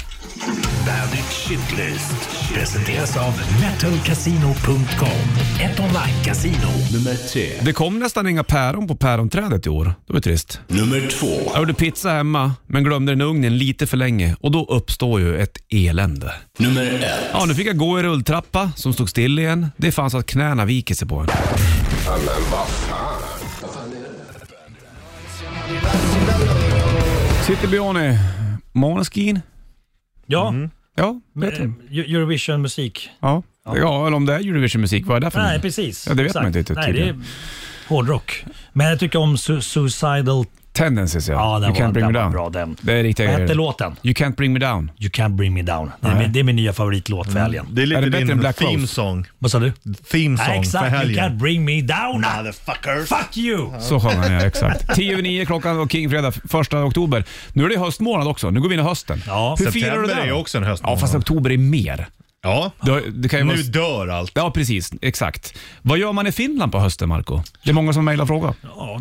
S1: Bandit Shitlist presenteras av
S9: metalcasino.com. Ett online-casino.
S1: nummer tre.
S2: Det kom nästan inga päron på päronträdet i år. Det var ju trist.
S1: Nummer två.
S2: Jag gjorde pizza hemma, men glömde den i ugnen lite för länge och då uppstår ju ett elände.
S1: Nummer ett.
S2: Ja, nu fick jag gå i rulltrappa som stod still igen. Det fanns att knäna viker sig på en. City Bione, Måneskin.
S5: Ja,
S2: Mm. Ja, vet
S5: eh,
S2: du.
S5: Eu- Eurovision-musik.
S2: Ja. ja, eller om det är Eurovision-musik, vad är det för
S5: Nej,
S2: något?
S5: precis.
S2: Mm. Ja, det vet
S5: Exakt.
S2: man inte riktigt
S5: Nej, det är
S2: tydligen.
S5: hårdrock. Men jag tycker om su- Suicidal...
S2: Tendencies ja.
S5: Ja, den
S2: you
S5: var-
S2: can't bring
S5: den
S2: me
S5: var
S2: down.
S5: bra, den.
S2: Det är riktiga
S5: Vad hette
S2: grejer.
S5: låten?
S2: You can't bring me down.
S5: You can't bring me down. Det är, min, det är min nya favoritlåt
S2: Mm.
S5: för helgen.
S3: Det är lite
S2: Är det bättre än
S3: din
S2: Black
S3: theme
S2: Rose?
S3: song.
S5: Vad sa du?
S3: Theme
S5: Nej,
S3: song för
S5: exakt. You
S3: helgen.
S5: can't bring me down. Ah,
S3: Motherfucker.
S5: Fuck you!
S2: Så sjöng han ja, exakt. 10 över 9 klockan och Kingfredag 1 oktober. Nu är det höstmånad också, nu går vi in i hösten.
S5: Ja,
S2: Hur firar du
S3: September är
S2: den?
S3: ju också en höstmånad.
S2: Ja, fast oktober är mer.
S3: Ja.
S2: Det, det kan ju
S3: Nu
S2: vara...
S3: dör allt.
S2: Ja, precis. Exakt. Vad gör man i Finland på hösten, Marco? Det är många som mejlar och frågar.
S5: Ja,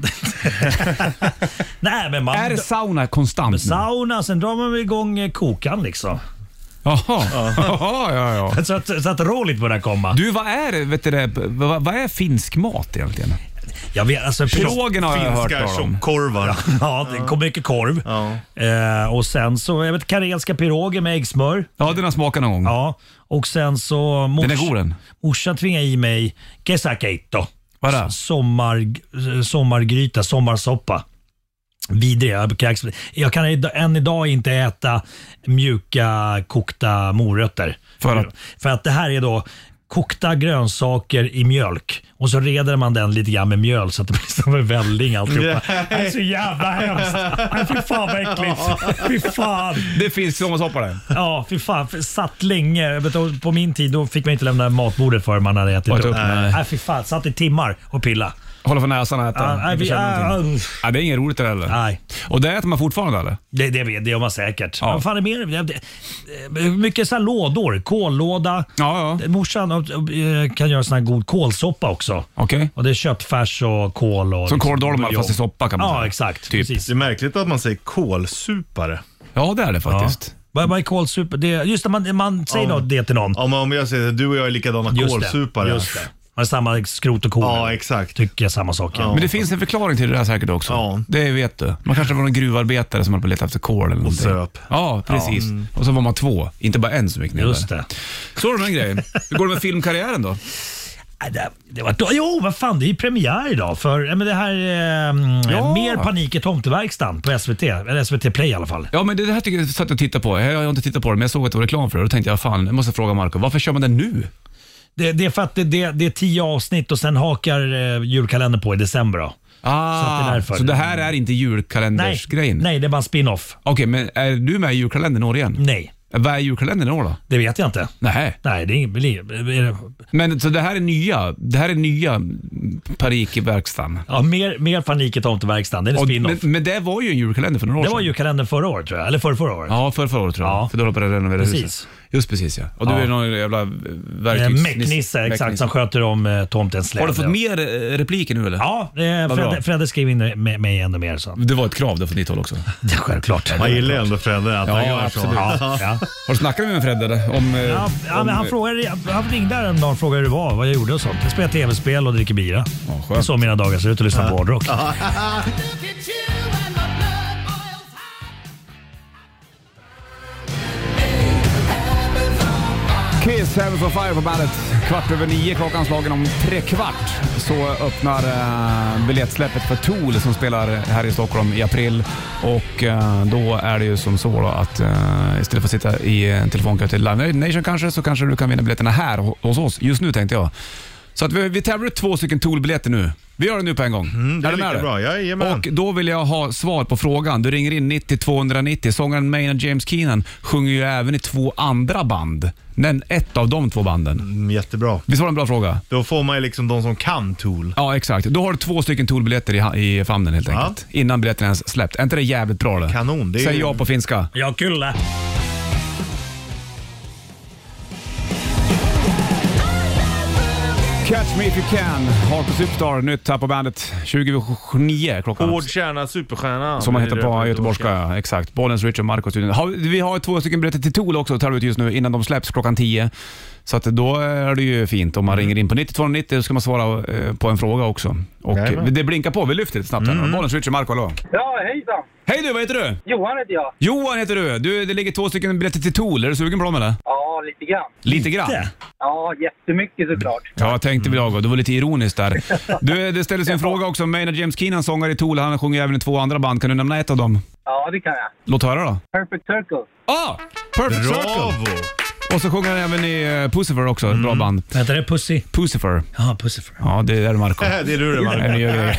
S5: Nej, men man...
S2: Är det sauna konstant nu?
S5: Sauna, sen drar man väl igång eh, kokan liksom.
S2: Jaha, Jaha, ja, ja.
S5: Så att, så att roligt börjar komma.
S2: Du, vad är, vet du, det, vad, vad är finsk mat egentligen?
S5: Jag vet, alltså,
S2: Krogen har jag hört
S3: Finska
S2: talas om.
S3: tjockkorvar.
S5: Ja, det kom mycket korv. Eh, och sen så, jag vet karelska piroger med äggsmör.
S2: Ja, den har smakat någon gång.
S5: Ja, och sen så... Mors,
S2: Den är god den.
S5: Morsan tvingade i mig kesäkeitto.
S2: Vad är det?
S5: Sommar, eh, sommargryta, sommarsoppa. Vidrig. Jag kan, jag kan id- än idag inte äta mjuka kokta morötter.
S2: För att?
S5: För att det här är då kokta grönsaker i mjölk och så reder man den lite grann med mjöl så att det blir som en välling alltihopa. Det är så jävla hemskt. Nej, Fy fan vad äckligt. Fy fan.
S2: Det är finsk sommarsoppa det.
S5: Ja, fy fan. För Satt länge. Jag vet, och På min tid då fick man inte lämna matbordet förrän man hade ätit
S2: Åt
S5: upp.
S2: upp, nej.
S5: Nej. fy fan. Satt i timmar och pilla.
S2: Håller för näsan och äta.
S5: Ja, nej, vi-
S2: Inte känner
S5: ah,
S2: någonting.
S5: usch.
S2: Ja, det är inget roligt det heller.
S5: Nej,
S2: Och det äter man fortfarande eller?
S5: det, det, vet- det gör man säkert.
S2: Ja.
S5: Vad fan är mer? Det- det- Mycket så här lådor. Kållåda.
S2: Ja, ja.
S5: Morsan och- och, eh, kan göra sån här god kålsoppa också.
S2: Okej.
S5: Och det är köttfärs och kål. Och
S2: Som
S5: liksom
S2: kåldolmar
S5: buljong.
S2: fast i soppa kan man
S5: Ja,
S2: säga.
S5: exakt.
S2: Typ.
S5: Precis.
S3: Det är märkligt att man säger kålsupare.
S2: Ja, det är det faktiskt.
S5: Vad vad är kålsupa? Det, är- just det, man, man säger något det till någon.
S3: Ja, men om jag säger att du och jag är likadana
S5: Just
S3: kålsupare.
S5: Det, just det. Man har samma skrot och korn.
S3: Ja, exakt.
S5: Tycker jag samma saker.
S2: Men det finns en förklaring till det där säkert också.
S3: Ja.
S2: Det vet du. Man kanske var någon gruvarbetare som höll på att leta efter kol eller någonting.
S3: söp.
S2: Ja, precis. Och så var man två, inte bara en som gick ner
S5: mm. Just
S2: där.
S5: det.
S2: Så är det den grejen. Hur går det med filmkarriären då?
S5: Nej, Äh, Det, det var, jo, vad fan, det är ju premiär idag för ja, men det här eh,
S2: Ja.
S5: Mer panik i tomteverkstan på SVT, eller SVT Play i alla fall.
S2: Ja, men det här tycker jag satt och tittade på. Jag har inte tittat på det, men jag såg att det var reklam för det. Då tänkte jag, fan, jag måste fråga Marco, varför kör man den nu?
S5: Det, det är för att det, det, det är tio avsnitt och sen hakar eh, julkalendern på i december. Då.
S2: Ah,
S5: Så
S2: så,
S5: att det är
S2: det
S5: därför.
S2: här är inte
S5: Nej,
S2: julkalendersgrejen?
S5: nej, Mm. det är bara en spin-off.
S2: Okej, men är du med i julkalendern i år igen?
S5: Nej,
S2: Vad är julkalendern i år då?
S5: det vet jag inte.
S2: Nej.
S5: Nej, det är inget... är det-
S2: Men så det här är nya, det här är nya Parik i verkstaden.
S5: Ja, mer, mer panik i tomteverkstan. Det är en
S2: Och, men,
S5: spin-off.
S2: men det var ju en julkalender för några år
S5: Det var
S2: sedan.
S5: julkalendern förra året tror jag, eller förra, förra året.
S2: Ja, för förra året tror jag.
S5: Ja.
S2: För då höll de på att renovera
S5: Precis.
S2: huset. Just precis ja. Och du
S5: Ja.
S2: är någon jävla
S5: Eh,
S2: verktygs...
S5: Mäcknisse, exakt, som sköter om eh, tomtens
S2: Har
S5: släde.
S2: du fått mer eh, repliker nu eller?
S5: Ja, eh,
S2: Vad bra.
S5: Fredde, Fredde skrev in med mig ännu mer. Så.
S2: Det var ett krav där från ditt håll också.
S5: Det är självklart.
S8: Man gillar ju ändå Fredde att han
S2: Ja,
S8: gör
S2: absolut.
S8: så.
S5: Ja, ja.
S2: Har du snackat med Fred eller? Om, eh,
S5: Ja, ja,
S2: om,
S5: men han, frågade, han ringde häromdagen och frågade hur det var, vad jag gjorde och sånt. Jag spelar tv-spel och dricker bira.
S2: Ja, skönt.
S5: det är så mina dagar ser ut och lyssnar på hårdrock.
S2: Kiss, Heavens on Fire på bandet. Kvart över nio klockan slagen om tre kvart så öppnar eh, biljettsläppet för Tool som spelar här i Stockholm i april. Och eh, då är det ju som så då att eh, istället för att sitta i en telefonkö till Live Nation kanske så kanske du kan vinna biljetterna här ho- hos oss just nu tänkte jag. Så att vi, vi tävlar ut två stycken Tool-biljetter nu. Vi gör det nu på en gång.
S8: Mm, det är
S2: du
S8: lika
S2: dig?
S8: bra. Jajamän.
S2: Och då vill jag ha svar på frågan. Du ringer in 90 290. Sångaren Maynard James Keenan sjunger ju även i två andra band. Men ett av de två banden.
S8: Mm, Jättebra.
S2: Visst var det en bra fråga?
S8: Då får man ju liksom de som kan Tool.
S2: Ja, exakt. Då har du två stycken Tool-biljetter i, ha- i famnen helt enkelt. Innan biljetten ens släppt. Är inte det jävligt bra det?
S8: Kanon, det är
S2: Säg
S8: ju-
S2: ja på finska.
S5: Ja, kulle.
S2: Catch me if you can. Harpo Superstar, nytt här på bandet. 29 klockan.
S8: Hård kärna, superstjärna.
S2: Som man hittar
S8: Det är
S2: på
S8: det.
S2: göteborgska, ja, exakt. Bollens Richard Marcos. Har, vi har två stycken biljetter till Tool också att ta ut just nu innan de släpps klockan 10. Så att då är det ju fint om man
S8: Mm.
S2: ringer in på 9290 så ska man svara eh, på en fråga också. Och eh,
S8: Jajamän.
S2: det blinkar på, vi lyfter lite snabbt
S8: Mm.
S2: här. Bollens Richard Marco, hallå.
S6: Ja, hejsan!
S2: Hej du, vad heter du?
S6: Johan heter jag.
S2: Johan heter du. du. Det ligger två stycken biljetter till Tool. Är du sugen på dem eller?
S6: Ja, lite grann.
S2: Lite grann.
S6: Ja, jättemycket såklart.
S2: Ja, jag tänkte väl jag. Det var lite ironiskt där. Du, det ställdes en fråga också om Maynard James Keenan, sångare i Tool. Han sjunger även i två andra band. Kan du nämna ett av dem?
S6: Ja, det kan jag.
S2: Låt höra då.
S6: Perfect Circle.
S2: Ah! Perfect Circle!
S8: Bravo!
S2: Och så sjunger han även i eh, Pussifer också, ett
S8: Mm.
S2: bra band.
S5: Vänta, det är Pussy.
S2: Pussifer.
S5: Ja, Pussifer.
S2: Ja, det är Marco.
S8: Det är du det,
S2: Nej,
S8: Marko.
S2: nu gör vi det.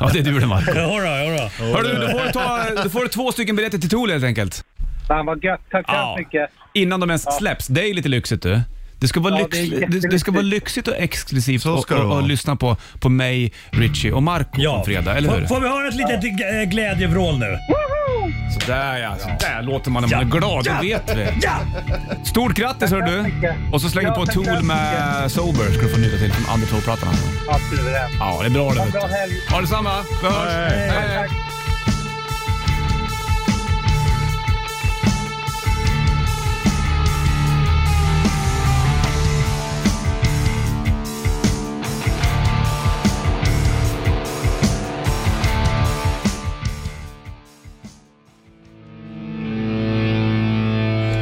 S2: Ja, det är du det Marco.
S5: Jodå, jodå.
S2: Hörru, du får, ta, du får två stycken biljetter till Tool helt enkelt.
S6: Fan vad gött. Tack så
S2: Ja.
S6: hemskt mycket.
S2: Innan de ens släpps. Det är ju lite lyxigt du. Det ska, vara
S6: Ja,
S2: lyx,
S6: det är
S2: det, det ska
S6: jättelyxigt.
S2: vara lyxigt och exklusivt
S8: Så
S2: och,
S8: ska det
S2: och,
S8: vara.
S2: och lyssna på, på mig, Richie och Marco
S5: Ja.
S2: på fredag, eller hur?
S5: Får, får vi höra ett litet eh, glädjevrål nu?
S2: Sådär ja, sådär låter man när man är glad, det vet vi.
S5: Ja!
S2: Stort grattis hör du! Och så slänger vi
S6: Ja,
S2: på
S6: tack
S2: Tool
S6: så
S2: med Sober, ska du få njuta till från Undertow-plattan. alltså.
S6: Absolut.
S2: Ja, det är bra det.
S6: Ha en
S2: vet
S6: bra
S2: du.
S6: helg.
S2: Ha detsamma! Vi hörs! Hej, hej.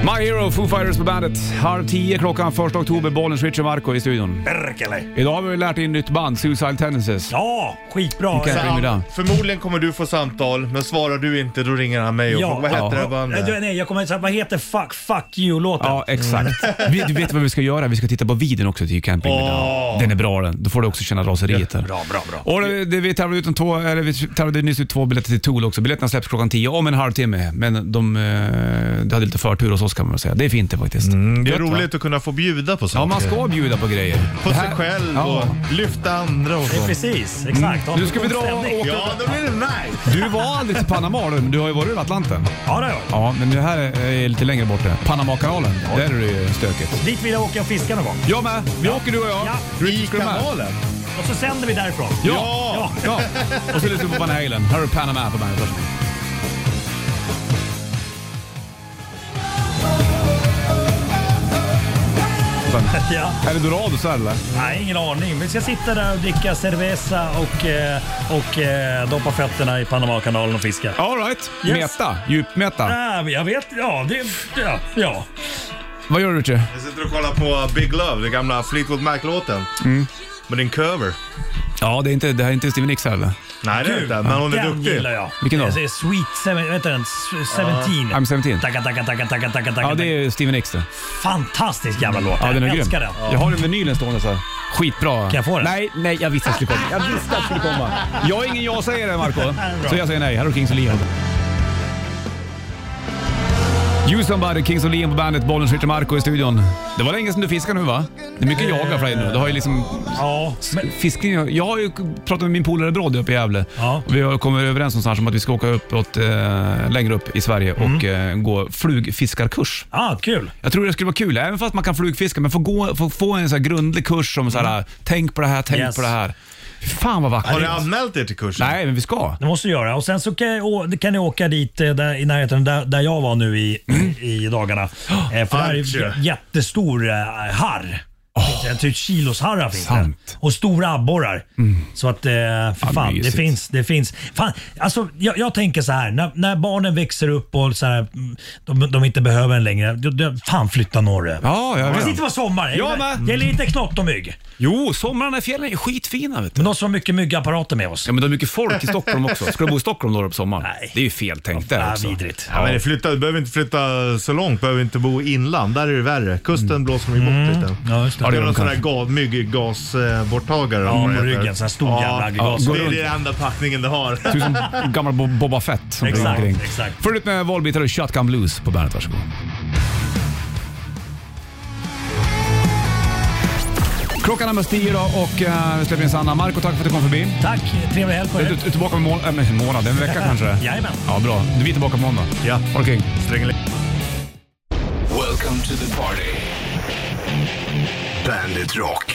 S2: My Hero, Foo Fighters på bandet. Halv tio klockan, 1 oktober, Bollens Richard Marco i studion.
S5: Berkele.
S2: Idag har vi lärt in nytt band, Suicide Tendencies.
S5: Ja, skitbra.
S2: Okej.
S8: Sam-
S2: Ringmiddag.
S8: Förmodligen kommer du få samtal, men svarar du inte då ringer han mig och frågar vad hette det här
S5: Nej, du,
S8: bandet?
S5: nej, jag kommer inte säga, vad heter Fuck, fuck you-låten?
S2: Ja, exakt. Vi, du vet vad vi ska göra? Vi ska titta på videon också till camping.
S8: Åh.
S2: Den är bra den. Då får du också känna raseriet där.
S5: Bra, bra, bra.
S2: Och eh, det, det, vi tävlade, ut en två, eller vi tävlade nyss ut två biljetter till Tool också. Biljetterna släpps klockan 10 om en halvtimme. Men de, eh, det hade lite förtur hos oss kan man väl säga. Det är fint det faktiskt.
S3: Mm.
S8: Mm, Det är
S2: Gött, va?
S8: roligt att kunna få bjuda på saker.
S2: Ja, man ska bjuda på grejer.
S8: På
S2: Det
S8: sig
S2: här-
S8: själv
S2: Ja.
S8: och lyfta andra och så.
S5: Precis, exakt. Ha en
S2: Mm. Nu ska vi
S5: god
S2: dra
S5: stämning.
S2: och-
S8: Ja, då blir det nice!
S2: Du var aldrig till Panama du, men du har ju varit i Atlanten.
S5: Ja, det har jag.
S2: Ja, men det här är är lite längre bort det. Panamakanalen, där är det ju stökigt.
S5: Dit vill jag åka och fiska någon gång.
S2: Jag med. Vi åker du och jag.
S5: Ja.
S8: I kanalen?
S5: Och så sänder vi därifrån.
S2: Ja! ja. Och så lyssnar vi på Van Halen. Här är Panama på bandet. Varsågod.
S5: Ja.
S2: Är det Dorados här eller?
S5: Nej, ingen aning. Vi ska sitta där och dricka cerveza och, eh, och eh, doppa fötterna i Panamakanalen och fiska.
S2: Alright.
S5: Yes.
S2: Meta. Djupmeta.
S5: Ah, men jag vet, ja det... Ja. ja.
S2: Vad gör du Richie?
S5: Mm.
S8: Jag sitter och kollar på Big Love, den gamla Fleetwood Mac-låten. Men det är en cover.
S2: Ja, det, är inte, det här är inte Steven Nicks heller.
S8: Nej, det är inte. Men hon är
S5: Den
S8: duktig.
S5: gillar jag.
S2: Vilken då?
S5: Jag säger Sweet seven, vet du, den, S- 17.
S2: I'm 17.
S5: Tacka, tacka, tacka, tacka, tacka, tacka.
S2: Ja, det är Steven Nicks det.
S5: Fantastisk jävla låt.
S2: Ja, den är
S5: jag
S2: grym.
S5: älskar den.
S2: Jag har den vinylen stående så här. Skitbra. Kan
S5: jag få den?
S2: Nej, nej, jag visste att det skulle komma. Jag visste att det skulle komma. Jag är ingen jag-sägare, Marco. Så jag säger nej. Här har du Kings of Leon. You somebody, Kings of Leon på bandet. Bollen skjuter Marco i studion. Det var länge sedan du fiskade nu va? Det är mycket jaga för dig nu. Du har ju liksom...
S5: Ja, men,
S2: Fiskning, jag har ju pratat med min polare Brodde uppe i Gävle.
S5: Ja.
S2: Och Vi har kommit överens någonstans om att vi ska åka uppåt, eh, längre upp i Sverige och
S5: Mm.
S2: eh, gå flugfiskarkurs.
S5: ah, kul.
S2: Jag tror det skulle vara kul, även fast man kan flugfiska, men få, gå, få, få en så här grundlig kurs som så här, tänk på det här, tänk
S5: Mm. Yes.
S2: på det här. Fy Fan vad vackert.
S8: Har ni anmält er till kursen?
S2: Nej, men vi ska.
S5: Det måste du göra. Och sen så kan, jag, å- kan ni åka dit eh, där, i närheten där, där jag var nu i, i dagarna. Eh, för där är
S8: Arche.
S5: j- jättestor eh, harr. Oh. Typ kilosharrar finns det.
S2: Sant. Mm.
S5: Och stora abborrar. Så att, eh, för fan, det
S2: mysigt.
S5: finns. Det finns. Fan, alltså, jag, jag tänker så här, när, när barnen växer upp och så här, mm, de, de inte behöver en längre. då- då- Fan, flytta norröver.
S2: Ja, jag
S5: Fast det
S2: vet.
S5: inte var sommar. Jag,
S2: Jag
S5: gillar-
S2: med.
S5: jag är lite knottomygg.
S2: Jo, somrarna i fjällen är skitfina vet du.
S5: Men de som har mycket myggapparater med oss.
S2: Ja, men det är mycket folk i Stockholm också. Ska du bo i Stockholm då på sommaren?
S5: Nej.
S2: Det är ju fel tänkt där
S5: Ah,
S2: också.
S5: vidrigt.
S8: Ja, men det flyttar, du behöver inte flytta så långt, behöver inte bo i inland. Där är det värre. Kusten blåser man ju bort lite.
S5: Mm. Ja, just det.
S8: det
S2: gör
S8: är
S2: de
S8: någon sån där
S2: kanske.
S8: ga- mygggasborttagare. eller
S5: Ja,
S8: vad det
S5: på
S8: heter.
S5: ryggen. Sån här stor jävla aggregat.
S8: Det är den enda packningen det har.
S2: Du är som gammal Bo- Boba Fett som
S5: Exakt,
S2: springer omkring.
S5: exakt.
S2: Följ ut med Volbeat och Shotgun Blues på bandet. Varsågod. Klockan är mest tio idag och eh, vi släpper in Sanna. Marco, tack för att du kom förbi.
S5: Tack, trevlig helg på
S2: Du
S5: er.
S2: du är tillbaka om en mån- äh, men en månad, en vecka kanske?
S5: Jajamän.
S2: Ja, bra. Vi är tillbaka på måndag.
S8: Ja.
S2: Ha det kul.
S1: Welcome to the party. Bandit Rock.